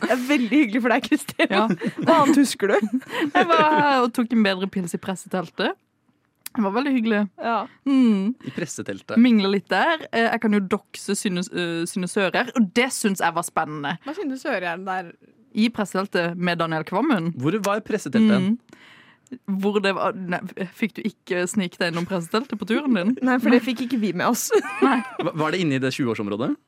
[SPEAKER 1] Det er veldig hyggelig for deg, Kristin.
[SPEAKER 2] Ja.
[SPEAKER 1] Hva annet husker du?
[SPEAKER 2] Jeg var her og tok en bedre pils i presseteltet. Det var veldig hyggelig.
[SPEAKER 1] Ja.
[SPEAKER 2] Mm.
[SPEAKER 3] I presseteltet.
[SPEAKER 2] Mingle litt der. Eh, Jeg kan jo dokse Synne- eh, Synne Sører, og det syns jeg var spennende.
[SPEAKER 4] Hva synes du hører jeg den der?
[SPEAKER 2] I presseteltet med Daniel Kvammen.
[SPEAKER 3] Hvor var presseteltet?
[SPEAKER 2] Mm. Hvor det var Nei, Fikk du ikke snike deg innom presseteltet på turen din?
[SPEAKER 1] Nei, for det fikk ikke vi med oss.
[SPEAKER 3] Hva- Var det inne i det 20-årsområdet?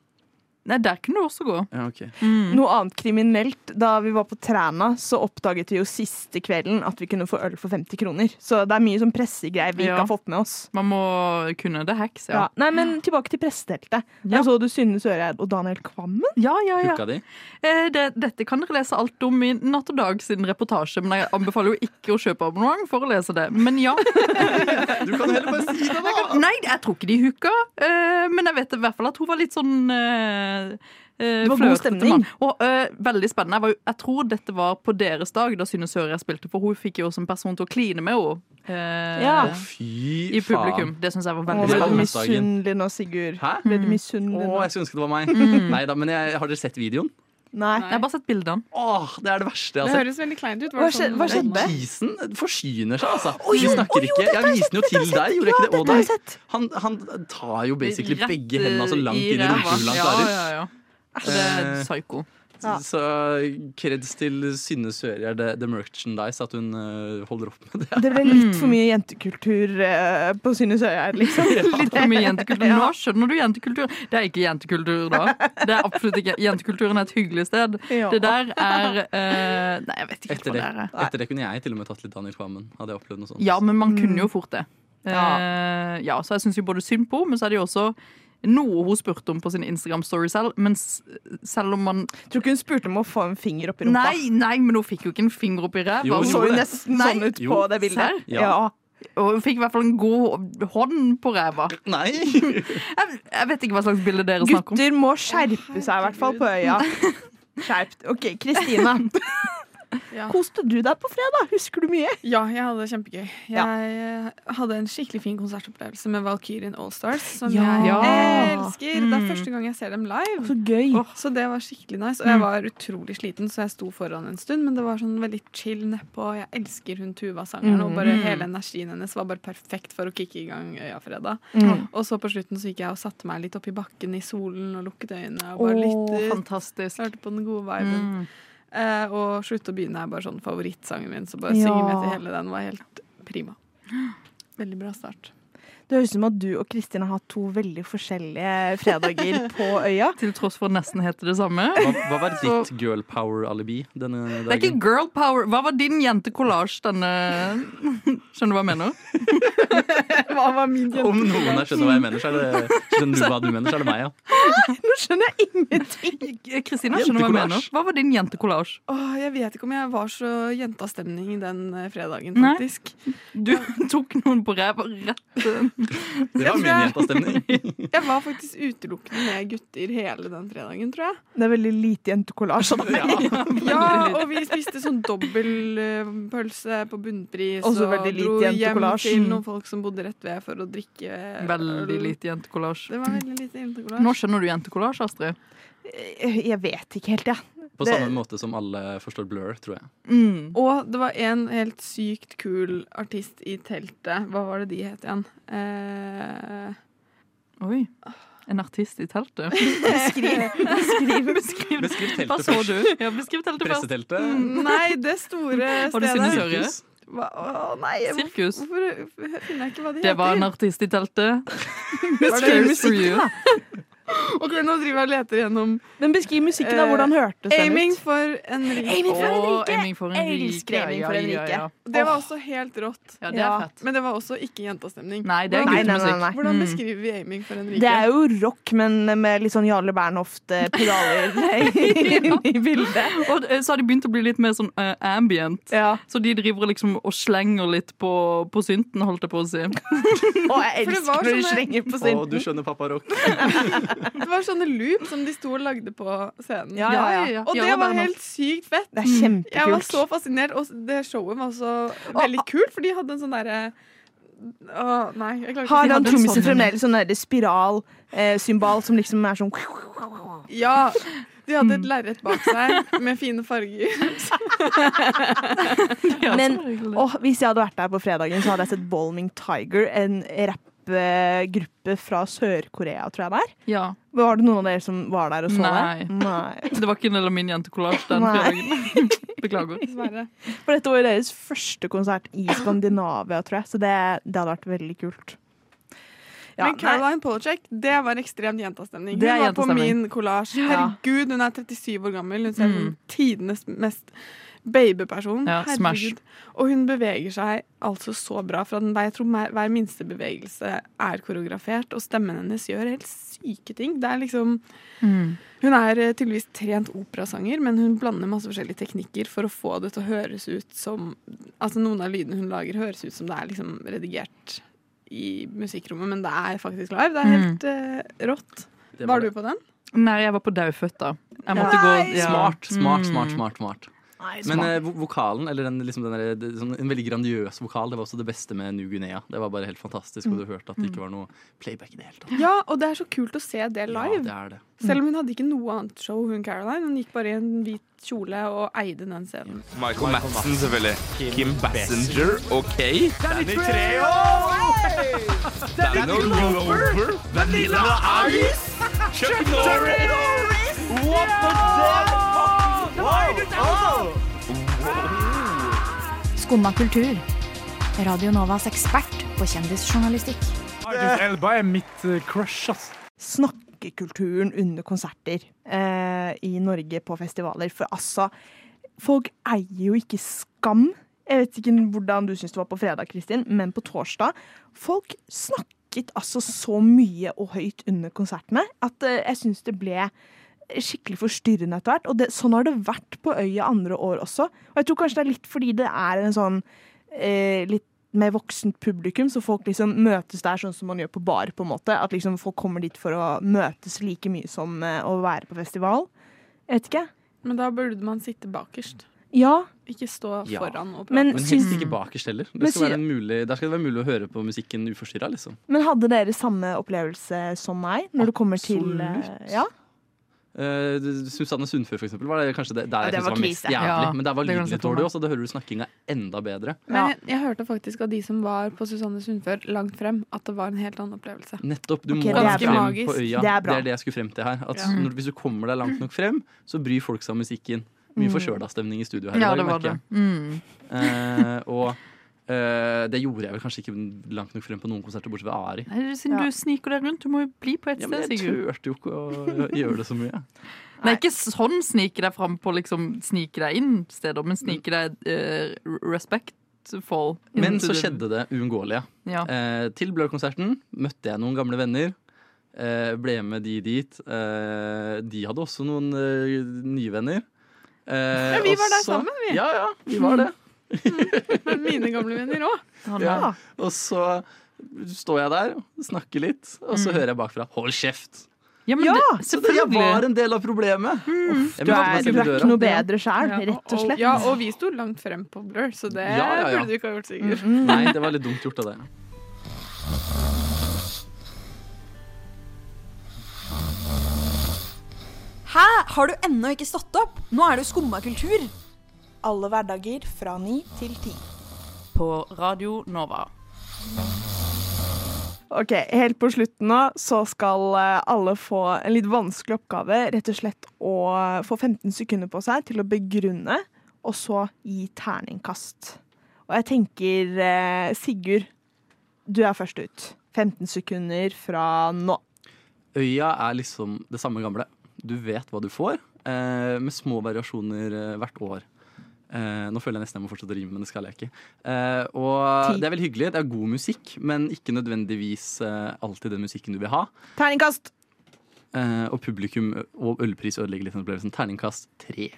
[SPEAKER 2] Nei, der kunne du også gå.
[SPEAKER 3] Ja, ok.
[SPEAKER 1] Noe annet kriminelt. Da vi var på Træna, så oppdaget vi jo siste kvelden at vi kunne få øl for 50 kroner. Så det er mye sånn pressegreier vi
[SPEAKER 2] Ja.
[SPEAKER 1] ikke har fått med oss.
[SPEAKER 2] Man må kunne det hacks,
[SPEAKER 1] Ja.
[SPEAKER 2] ja.
[SPEAKER 1] Nei, men tilbake til presseteltet.
[SPEAKER 2] Ja.
[SPEAKER 1] Og så du Synne Søreid og Daniel Kvammen.
[SPEAKER 2] Ja, ja, ja.
[SPEAKER 3] Hooka di?
[SPEAKER 2] Eh, Det, dette kan dere lese alt om i Natt og Dag sin reportasje, men jeg anbefaler jo ikke å kjøpe abonnement for å lese det. Men ja.
[SPEAKER 3] Du kan heller bare si det, da!
[SPEAKER 2] Nei, jeg tror ikke de hooka, eh, men jeg vet i hvert fall at hun var litt sånn eh, eh,
[SPEAKER 1] Det var god
[SPEAKER 2] flørtete
[SPEAKER 1] stemning.
[SPEAKER 2] mann. Og, eh, veldig spennende. Jeg, var, jo- jeg tror dette var på deres dag, da Synne Sører spilte, for hun fikk jo som person til å kline med henne. eh,
[SPEAKER 1] Ja.
[SPEAKER 3] Å, fy
[SPEAKER 2] I publikum. Det syns jeg var
[SPEAKER 1] Å,
[SPEAKER 2] veldig
[SPEAKER 1] ble du
[SPEAKER 2] spennende.
[SPEAKER 3] Valentinsdagen.
[SPEAKER 1] misunnelig nå, Sigurd?
[SPEAKER 3] Hæ?
[SPEAKER 1] Ble du misunnelig
[SPEAKER 3] Å,
[SPEAKER 1] nå?
[SPEAKER 3] jeg skulle ønske det var meg. Nei da, men jeg, har dere sett videoen?
[SPEAKER 1] Nei.
[SPEAKER 2] Jeg har bare sett bildene.
[SPEAKER 3] Åh, det er det verste
[SPEAKER 4] Det
[SPEAKER 3] jeg har sett.
[SPEAKER 4] høres veldig kleint ut.
[SPEAKER 1] Hva skje- hva skjedde?
[SPEAKER 4] det?
[SPEAKER 3] Isen forsyner seg, altså. Vi snakker ikke. Jeg viste den jo til deg, gjorde jeg ikke det?
[SPEAKER 1] Dette
[SPEAKER 3] Og
[SPEAKER 1] har jeg
[SPEAKER 3] deg.
[SPEAKER 1] sett.
[SPEAKER 3] Han, han tar jo basically
[SPEAKER 2] Rett,
[SPEAKER 3] begge hendene så langt
[SPEAKER 2] i
[SPEAKER 3] inn i
[SPEAKER 2] ræva.
[SPEAKER 3] rumpehullet
[SPEAKER 2] Ja,
[SPEAKER 3] han
[SPEAKER 2] ja,
[SPEAKER 3] klarer.
[SPEAKER 2] ja. Det er psyko.
[SPEAKER 1] Ja.
[SPEAKER 3] Så kreds til Synne Sører, the, the merchandise, at hun øh, holder opp med det.
[SPEAKER 1] Det ble litt for mye jentekultur eh, på Synne Søreid, liksom.
[SPEAKER 2] Litt for mye jentekultur. Nå skjønner du jentekultur. Det er ikke jentekultur da. Det er absolutt ikke. Jentekulturen er et hyggelig sted.
[SPEAKER 1] Ja.
[SPEAKER 2] Det der er eh, Nei, jeg vet ikke helt hva
[SPEAKER 3] Etter det,
[SPEAKER 2] det er. jeg.
[SPEAKER 3] etter det kunne jeg til og med tatt litt Daniel Kvammen. Hadde jeg opplevd noe sånt.
[SPEAKER 2] Ja, men man kunne jo fort det.
[SPEAKER 1] Mm. Ja.
[SPEAKER 2] Eh, ja, så jeg syns jo både synd på henne, men så er det jo også Noe hun spurte om på sin Instagram-story selv, men s- selv om man
[SPEAKER 1] Tror ikke hun spurte om å få en finger opp i rumpa.
[SPEAKER 2] Nei, nei, men hun fikk jo ikke en finger opp i
[SPEAKER 3] Jo,
[SPEAKER 2] ræva.
[SPEAKER 1] Hun
[SPEAKER 3] hun
[SPEAKER 1] så jo
[SPEAKER 3] gjorde det.
[SPEAKER 1] nesten
[SPEAKER 2] Nei.
[SPEAKER 1] sånn ut
[SPEAKER 3] Jo.
[SPEAKER 1] på det bildet.
[SPEAKER 2] Serr?
[SPEAKER 1] Ja.
[SPEAKER 3] Ja.
[SPEAKER 2] Og hun fikk i hvert fall en god hånd på ræva.
[SPEAKER 3] Nei!
[SPEAKER 2] Jeg, jeg vet ikke hva slags bilde dere snakker om.
[SPEAKER 1] Gutter må skjerpe seg, i hvert fall på øya. Skjerp OK, Kristina.
[SPEAKER 4] Ja.
[SPEAKER 1] Koste du deg på fredag? Husker du mye?
[SPEAKER 4] Ja, jeg hadde det kjempegøy. Jeg
[SPEAKER 1] Ja.
[SPEAKER 4] eh, hadde en skikkelig fin konsertopplevelse med Valkyrien Allstars, som
[SPEAKER 1] Ja.
[SPEAKER 4] jeg
[SPEAKER 2] Ja.
[SPEAKER 4] elsker. Det er
[SPEAKER 2] Mm.
[SPEAKER 4] første gang jeg ser dem live.
[SPEAKER 1] Så gøy.
[SPEAKER 4] Åh, Mm. Så det var skikkelig nice. Og jeg var utrolig sliten, så jeg sto foran en stund, men det var sånn veldig chill nedpå. Jeg elsker hun Tuva-sangeren, og bare
[SPEAKER 2] Mm.
[SPEAKER 4] hele energien hennes var bare perfekt for å kicke i gang Øyafredag.
[SPEAKER 1] Mm.
[SPEAKER 4] Og så på slutten så gikk jeg og satte meg litt opp i bakken i solen og lukket øynene og bare
[SPEAKER 1] Åh,
[SPEAKER 4] lyttet.
[SPEAKER 2] Fantastisk.
[SPEAKER 4] Hørte på den gode viben.
[SPEAKER 2] Mm.
[SPEAKER 4] Eh, og Slutt å begynne er bare sånn favorittsangen min, så bare
[SPEAKER 1] Ja.
[SPEAKER 4] synger med til hele den. var helt prima. Veldig bra start.
[SPEAKER 1] Det høres ut som at du og Kristin har hatt to veldig forskjellige fredager på øya.
[SPEAKER 2] Til tross for nesten heter det samme.
[SPEAKER 3] Hva, hva var ditt girl power-alibi denne
[SPEAKER 2] Det er ikke
[SPEAKER 3] dagen?
[SPEAKER 2] girl power. Hva var din jentekollasj denne Skjønner du hva jeg mener?
[SPEAKER 4] Hva var min jente?
[SPEAKER 3] Om noen her skjønner hva jeg mener, så er det Skjønner du hva du mener, så er det meg, ja.
[SPEAKER 1] Nå skjønner jeg ingenting!
[SPEAKER 2] Kristina, skjønner du hva jeg mener?
[SPEAKER 3] Jentekollasj.
[SPEAKER 2] Hva var din jentekollasj?
[SPEAKER 4] Åh, jeg vet ikke om jeg var så jentastemning den eh, fredagen,
[SPEAKER 2] Nei.
[SPEAKER 4] faktisk.
[SPEAKER 2] Du tok noen på ræva rett eh,
[SPEAKER 3] Det var min jentastemning.
[SPEAKER 4] Jeg var faktisk utelukkende med gutter hele den fredagen, tror jeg.
[SPEAKER 1] Det er veldig lite jentekollasj av deg.
[SPEAKER 4] Ja, og vi spiste sånn dobbeltpølse på bunnpris.
[SPEAKER 1] Også
[SPEAKER 4] og
[SPEAKER 1] veldig lite
[SPEAKER 4] dro hjem
[SPEAKER 1] jentekollasj.
[SPEAKER 4] til noen folk som bodde rett ved for å drikke øl.
[SPEAKER 2] Veldig lite jentekollasj.
[SPEAKER 4] Det var veldig lite
[SPEAKER 2] Nå
[SPEAKER 4] jentekollasj.
[SPEAKER 2] skjønner du jentekollasj, Astrid.
[SPEAKER 1] Jeg vet ikke helt, jeg. Ja.
[SPEAKER 3] På
[SPEAKER 1] Det-
[SPEAKER 3] samme måte som alle forstår Blur, tror jeg.
[SPEAKER 2] Mm.
[SPEAKER 4] Og det var en helt sykt kul artist i teltet. Hva var det de het igjen? Eh,
[SPEAKER 2] Oi. En artist i teltet?
[SPEAKER 1] Beskriv.
[SPEAKER 2] Beskriv
[SPEAKER 3] Beskriv
[SPEAKER 2] Hva
[SPEAKER 3] teltet
[SPEAKER 2] så
[SPEAKER 3] først.
[SPEAKER 2] du? Ja, beskriv teltet først.
[SPEAKER 3] Presseteltet.
[SPEAKER 4] nei, det store
[SPEAKER 2] Var det Synne
[SPEAKER 4] stedet.
[SPEAKER 2] Sørje?
[SPEAKER 4] Hva- Å nei, jeg-
[SPEAKER 2] Sirkus.
[SPEAKER 4] hvorfor finner jeg ikke hva de
[SPEAKER 2] Det
[SPEAKER 4] heter?
[SPEAKER 2] var en artist i teltet.
[SPEAKER 4] Var det
[SPEAKER 2] Cheers for you.
[SPEAKER 4] Ok, nå driver jeg og leter gjennom
[SPEAKER 1] Men beskriv musikken, da. Hvordan hørtes den
[SPEAKER 4] Aiming
[SPEAKER 1] ut?
[SPEAKER 4] for Enrique.
[SPEAKER 1] Aiming for
[SPEAKER 2] Å,
[SPEAKER 1] Henrike.
[SPEAKER 2] aiming for Henrike.
[SPEAKER 1] Elsker aiming for
[SPEAKER 2] Ja, ja,
[SPEAKER 1] Henrike.
[SPEAKER 2] ja, ja.
[SPEAKER 4] Det var også helt rått.
[SPEAKER 2] Ja, det
[SPEAKER 1] Ja.
[SPEAKER 2] er fett.
[SPEAKER 4] Men det var også ikke jentastemning.
[SPEAKER 2] Nei, det er
[SPEAKER 1] Nei, nei, nei,
[SPEAKER 2] guttemusikk.
[SPEAKER 1] nei.
[SPEAKER 4] Hvordan
[SPEAKER 2] Mm.
[SPEAKER 4] beskriver vi aiming for Enrique?
[SPEAKER 1] Det er jo rock, men med litt sånn Jarle Bernhoft-pedaler i bildet.
[SPEAKER 2] Og eh, så har de begynt å bli litt mer sånn eh, ambient.
[SPEAKER 1] Ja.
[SPEAKER 2] Så de driver liksom og slenger litt på, på synten, holdt jeg på å si.
[SPEAKER 1] Og jeg
[SPEAKER 4] For det var
[SPEAKER 1] elsker når du
[SPEAKER 4] sånne-
[SPEAKER 1] slenger på
[SPEAKER 3] Å, du
[SPEAKER 1] synten.
[SPEAKER 3] skjønner pappa rock.
[SPEAKER 4] Det var sånne loop som de sto og lagde på scenen.
[SPEAKER 1] Ja, ja, ja.
[SPEAKER 4] Og det
[SPEAKER 2] Ja,
[SPEAKER 4] var
[SPEAKER 2] Bernhoft.
[SPEAKER 4] helt sykt fett.
[SPEAKER 1] Det er
[SPEAKER 4] Jeg var
[SPEAKER 1] kjempekult.
[SPEAKER 4] så fascinert, og det showet var også veldig kult, for de hadde en sånn derre Å, nei, jeg klarer ikke å
[SPEAKER 1] Har han
[SPEAKER 4] si
[SPEAKER 2] hadde en
[SPEAKER 1] trommisen
[SPEAKER 2] sånn-
[SPEAKER 1] fremdeles sånn derre spiralsymbal som liksom er sånn
[SPEAKER 4] Ja. De hadde
[SPEAKER 1] Mm.
[SPEAKER 4] et lerret bak seg med fine farger.
[SPEAKER 2] Ja,
[SPEAKER 1] Men-
[SPEAKER 2] så hyggelig.
[SPEAKER 1] Åh, hvis jeg hadde vært der på fredagen, så hadde jeg sett Balming Tiger, en rappgruppe fra Sør-Korea, tror jeg det er.
[SPEAKER 2] ja.
[SPEAKER 1] Var det noen av dere som var der og så
[SPEAKER 2] Nei.
[SPEAKER 1] det? Nei.
[SPEAKER 2] Det var ikke en del av min jentekollasj den
[SPEAKER 1] Nei.
[SPEAKER 2] fredagen. Beklager.
[SPEAKER 4] Dessverre.
[SPEAKER 1] For dette var jo deres første konsert i Skandinavia, tror jeg, så det, det hadde vært veldig kult. Ja,
[SPEAKER 4] Men Caroline Polachek, det var ekstremt jentastemning. Hun
[SPEAKER 2] Det er
[SPEAKER 4] var på
[SPEAKER 2] jentastemning. Mm.
[SPEAKER 4] min kollasj. Herregud, hun er 37 år gammel. Hun ser ut som tidenes mest babyperson.
[SPEAKER 2] Ja, smash.
[SPEAKER 4] Herregud. Og hun beveger seg altså så bra fra den vei. Jeg tror mer- hver minste bevegelse er koreografert, og stemmen hennes gjør helt syke ting. Det er liksom Hun er eh, tydeligvis trent operasanger, men hun blander masse forskjellige teknikker for å få det til å høres ut som Altså, noen av lydene hun lager, høres ut som det er liksom redigert i musikkrommet, men det er faktisk live. Det er helt eh, rått.
[SPEAKER 3] Det
[SPEAKER 4] var
[SPEAKER 3] det.
[SPEAKER 4] du på den?
[SPEAKER 2] Nei, jeg var på daufødt da. Jeg måtte
[SPEAKER 4] Ja.
[SPEAKER 2] gå
[SPEAKER 4] Nei!
[SPEAKER 2] ja.
[SPEAKER 3] Smart, smart,
[SPEAKER 2] Mm.
[SPEAKER 3] smart, smart. smart.
[SPEAKER 1] Nei,
[SPEAKER 3] Men eh, vo- vokalen, eller den, liksom den der, det- sånn, en veldig grandiøs vokal, det var også det beste med New Guinea. Det var bare helt fantastisk, og du hørte at det ikke var noe playback i det hele tatt.
[SPEAKER 4] Ja, og det er så kult å se det
[SPEAKER 3] Ja,
[SPEAKER 4] live.
[SPEAKER 3] det er det.
[SPEAKER 4] Selv om hun hadde ikke noe annet show, hun Caroline. Hun gikk bare i en hvit kjole og eide den scenen.
[SPEAKER 7] Michael Madsen, selvfølgelig. Kim Bassinger, OK. Danny Treo! Daniel Glover! Vanilla Ice! Chuck Norris! What the hell?
[SPEAKER 8] Skumma kultur. Radio Novas ekspert på kjendisjournalistikk.
[SPEAKER 9] Idris Elba er mitt eh, crush, ass.
[SPEAKER 1] snakkekulturen under konserter eh, i Norge på festivaler. For altså, folk eier jo ikke skam. Jeg vet ikke hvordan du syns det var på fredag, Kristin, men på torsdag. Folk snakker snakket altså så mye og høyt under konsertene at eh, jeg syns det ble skikkelig forstyrrende etter hvert. Og det, sånn har det vært på øya andre år også. Og jeg tror kanskje det er litt fordi det er en sånn eh, litt mer voksent publikum, så folk liksom møtes der sånn som man gjør på bar, på en måte. At liksom folk kommer dit for å møtes like mye som eh, å være på festival. Jeg vet ikke.
[SPEAKER 4] Men da burde man sitte bakerst.
[SPEAKER 1] Ja,
[SPEAKER 4] Ikke stå
[SPEAKER 3] Ja.
[SPEAKER 4] foran og prate.
[SPEAKER 1] men,
[SPEAKER 3] Men
[SPEAKER 1] syns,
[SPEAKER 3] helst ikke bakerst heller.
[SPEAKER 1] Men
[SPEAKER 3] Det skal
[SPEAKER 1] sy-
[SPEAKER 3] være en mulig, der skal det være mulig å høre på musikken uforstyrra, liksom.
[SPEAKER 1] men hadde dere samme opplevelse som meg når det kommer til eh,
[SPEAKER 3] Absolutt.
[SPEAKER 1] Ja?
[SPEAKER 3] Eh, du- du- Susanne Sundfør, for eksempel, var det kanskje det, der
[SPEAKER 1] Ja,
[SPEAKER 3] jeg
[SPEAKER 1] det
[SPEAKER 3] synes
[SPEAKER 1] var
[SPEAKER 3] var mest
[SPEAKER 1] krise.
[SPEAKER 3] jævlig.
[SPEAKER 2] Ja,
[SPEAKER 3] men der var
[SPEAKER 2] det kan
[SPEAKER 3] lyden
[SPEAKER 2] jeg se
[SPEAKER 3] litt
[SPEAKER 2] for
[SPEAKER 3] dårlig
[SPEAKER 2] meg.
[SPEAKER 3] også, da hører du snakkinga enda bedre.
[SPEAKER 4] Men
[SPEAKER 1] Ja.
[SPEAKER 4] jeg, jeg hørte faktisk av de som var på Susanne Sundfør langt frem, at det var en helt annen opplevelse.
[SPEAKER 3] Nettopp, du
[SPEAKER 1] Ok,
[SPEAKER 3] må
[SPEAKER 1] det er
[SPEAKER 3] ganske
[SPEAKER 4] bra.
[SPEAKER 3] frem på
[SPEAKER 4] Magisk.
[SPEAKER 3] øya.
[SPEAKER 1] Det
[SPEAKER 3] Det
[SPEAKER 1] er
[SPEAKER 3] er,
[SPEAKER 1] bra.
[SPEAKER 3] det jeg skulle frem til her. At
[SPEAKER 4] Ja.
[SPEAKER 3] når, hvis du kommer deg langt nok frem, så bryr folk seg om musikken. Mye forkjøla stemning i studio her i
[SPEAKER 2] Ja,
[SPEAKER 3] dag,
[SPEAKER 2] det var
[SPEAKER 3] merker
[SPEAKER 2] det.
[SPEAKER 3] jeg.
[SPEAKER 2] Mm.
[SPEAKER 3] Eh, og eh, det gjorde jeg vel kanskje ikke langt nok frem på noen konserter, bortsett fra Ari.
[SPEAKER 2] Nei, Siden
[SPEAKER 1] Ja.
[SPEAKER 2] du sniker deg rundt, du må jo bli på et
[SPEAKER 3] Ja,
[SPEAKER 2] sted,
[SPEAKER 3] men jeg
[SPEAKER 2] Sigurd.
[SPEAKER 3] turte jo ikke å gjøre det så mye.
[SPEAKER 2] Nei, ikke sånn snike deg fram på liksom snike deg inn steder, men snike deg eh, respectful.
[SPEAKER 3] Men
[SPEAKER 2] into
[SPEAKER 3] så
[SPEAKER 2] the-
[SPEAKER 3] skjedde det uunngåelige.
[SPEAKER 2] Ja.
[SPEAKER 3] Eh, til Blur-konserten møtte jeg noen gamle venner. Eh, ble med de dit. Eh, de hadde også noen eh, nye venner. Eh,
[SPEAKER 4] Ja, vi
[SPEAKER 3] og
[SPEAKER 4] var der
[SPEAKER 3] så-
[SPEAKER 4] sammen, vi.
[SPEAKER 3] Ja, ja, vi var det.
[SPEAKER 4] Men mine gamle venner òg.
[SPEAKER 2] Han,
[SPEAKER 3] Ja.
[SPEAKER 2] ja.
[SPEAKER 3] Og så står jeg der, snakker litt, og
[SPEAKER 1] Mm.
[SPEAKER 3] så hører jeg bakfra 'hold kjeft'.
[SPEAKER 2] ja, men
[SPEAKER 1] Ja,
[SPEAKER 2] det,
[SPEAKER 3] Så det, jeg var
[SPEAKER 2] selvfølgelig.
[SPEAKER 3] en del av
[SPEAKER 1] Mm.
[SPEAKER 3] problemet. Jeg
[SPEAKER 1] Du
[SPEAKER 3] møtte
[SPEAKER 1] er,
[SPEAKER 3] meg
[SPEAKER 1] du
[SPEAKER 3] selv i
[SPEAKER 1] er
[SPEAKER 3] døra.
[SPEAKER 1] ikke noe bedre sjæl,
[SPEAKER 2] Ja.
[SPEAKER 1] rett og slett.
[SPEAKER 4] ja, og vi sto langt frem på Blur, så det
[SPEAKER 3] Ja, ja, ja.
[SPEAKER 4] burde du ikke ha gjort, Sigurd.
[SPEAKER 1] Mhm.
[SPEAKER 3] Nei, det var litt dumt gjort av deg.
[SPEAKER 10] Hæ? Har du ennå ikke stått opp? Nå er det jo skumma kultur.
[SPEAKER 8] Alle hverdager fra ni til ti.
[SPEAKER 2] På Radio Nova.
[SPEAKER 1] Ok, Helt på slutten nå så skal eh, alle få en litt vanskelig oppgave. Rett og slett å få 15 sekunder på seg til å begrunne, og så gi terningkast. Og jeg tenker eh, Sigurd, du er først ut. 15 sekunder fra nå.
[SPEAKER 3] Øya er liksom det samme gamle. Du vet hva du får, eh, med små variasjoner eh, hvert år. Eh, nå føler jeg nesten jeg må fortsette å rime, men det skal jeg ikke. Eh, og
[SPEAKER 1] Ti.
[SPEAKER 3] det er veldig hyggelig. Det er god musikk, men ikke nødvendigvis eh, alltid den musikken du vil ha.
[SPEAKER 1] Terningkast!
[SPEAKER 3] Eh, og publikum og ølpris ødelegger litt den opplevelsen. Terningkast tre.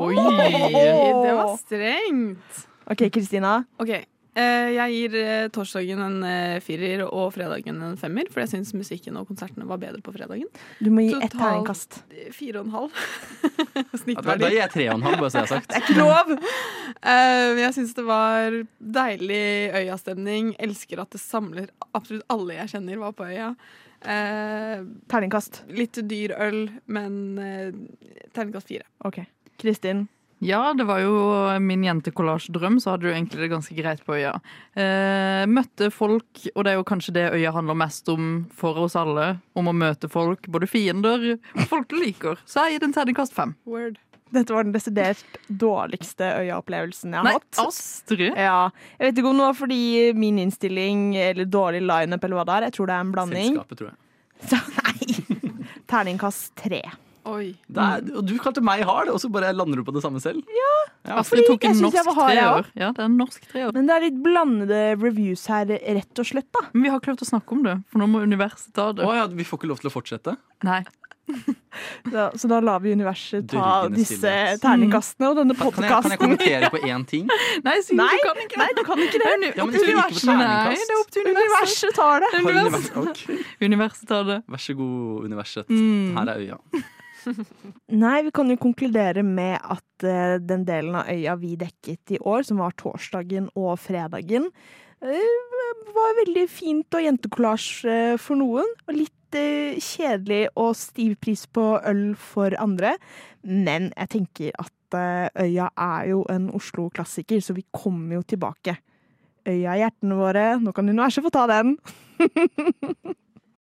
[SPEAKER 2] Oi!
[SPEAKER 4] Det var strengt.
[SPEAKER 1] OK, Kristina.
[SPEAKER 4] OK. eh, Jeg gir eh, torsdagen en eh, firer og fredagen en femmer, for jeg syns musikken og konsertene var bedre på fredagen.
[SPEAKER 1] Du må gi ett
[SPEAKER 4] Totalt-
[SPEAKER 1] terningkast.
[SPEAKER 4] Eh, Fire og en halv.
[SPEAKER 3] Ja, Da, da
[SPEAKER 4] Snittverdi.
[SPEAKER 3] gir jeg tre og en halv, bare så jeg har sagt.
[SPEAKER 1] Ikke lov!
[SPEAKER 4] Eh, men jeg syns det var deilig øyastemning. Elsker at det samler absolutt alle jeg kjenner var på øya. Eh,
[SPEAKER 1] Terningkast.
[SPEAKER 4] litt dyr øl, men eh, terningkast fire.
[SPEAKER 1] OK. Kristin.
[SPEAKER 2] Ja, det var jo min jentekollasjedrøm, så hadde du egentlig det ganske greit på øya. Eh, møtte folk, og det er jo kanskje det øya handler mest om for oss alle. Om å møte folk, både fiender og folk du liker. Så jeg gir den terningkast fem.
[SPEAKER 4] Word.
[SPEAKER 1] Dette var den desidert dårligste øyaopplevelsen jeg har
[SPEAKER 2] Nei,
[SPEAKER 1] hatt.
[SPEAKER 2] Astrid!
[SPEAKER 1] Ja, jeg vet ikke om det var fordi min innstilling eller dårlig lineup eller hva det er. Jeg tror det er en blanding.
[SPEAKER 3] Selskapet, tror jeg.
[SPEAKER 1] Så, nei. Terningkast tre.
[SPEAKER 4] Oi.
[SPEAKER 3] Det er, og du kalte meg hard, og så bare lander du på det samme selv. Ja,
[SPEAKER 2] Astrid tok
[SPEAKER 1] jeg
[SPEAKER 2] en
[SPEAKER 1] synes jeg
[SPEAKER 2] norsk
[SPEAKER 1] var hard, jeg
[SPEAKER 2] treår. Ja, det er en norsk treår.
[SPEAKER 1] Men det er litt blandede reviews her, rett og slett, da.
[SPEAKER 2] Men vi har ikke lov til å snakke om det, for nå må universet ta det.
[SPEAKER 3] Å ja, vi får ikke lov til å fortsette?
[SPEAKER 2] Nei.
[SPEAKER 1] Så, så da lar vi universet ta
[SPEAKER 3] Dørgende
[SPEAKER 1] disse
[SPEAKER 3] stillhet.
[SPEAKER 1] terningkastene og denne
[SPEAKER 3] Kan jeg, kan jeg
[SPEAKER 1] podkasten.
[SPEAKER 3] kommentere på én ting?
[SPEAKER 2] Nei, Sigurd,
[SPEAKER 1] Nei,
[SPEAKER 2] du kan ikke
[SPEAKER 1] Nei, du kan ikke det.
[SPEAKER 2] Nei,
[SPEAKER 3] Ja, men
[SPEAKER 2] opp til
[SPEAKER 3] jeg liker
[SPEAKER 2] universet.
[SPEAKER 3] på
[SPEAKER 2] Nei,
[SPEAKER 3] terningkast.
[SPEAKER 2] det er opp til universet.
[SPEAKER 1] Universet tar det.
[SPEAKER 3] Har
[SPEAKER 2] Univers.
[SPEAKER 3] univers- ok.
[SPEAKER 2] Universet tar det.
[SPEAKER 3] Vær så god, universet.
[SPEAKER 2] Mm.
[SPEAKER 3] Her er øya.
[SPEAKER 1] Nei, vi kan jo konkludere med at eh, den delen av øya vi dekket i år, som var torsdagen og fredagen, eh, var veldig fint og jentekollasj eh, for noen, og litt eh, kjedelig og stiv pris på øl for andre. Men jeg tenker at eh, øya er jo en Oslo-klassiker, så vi kommer jo tilbake. Øya i hjertene våre, nå kan universet få ta den.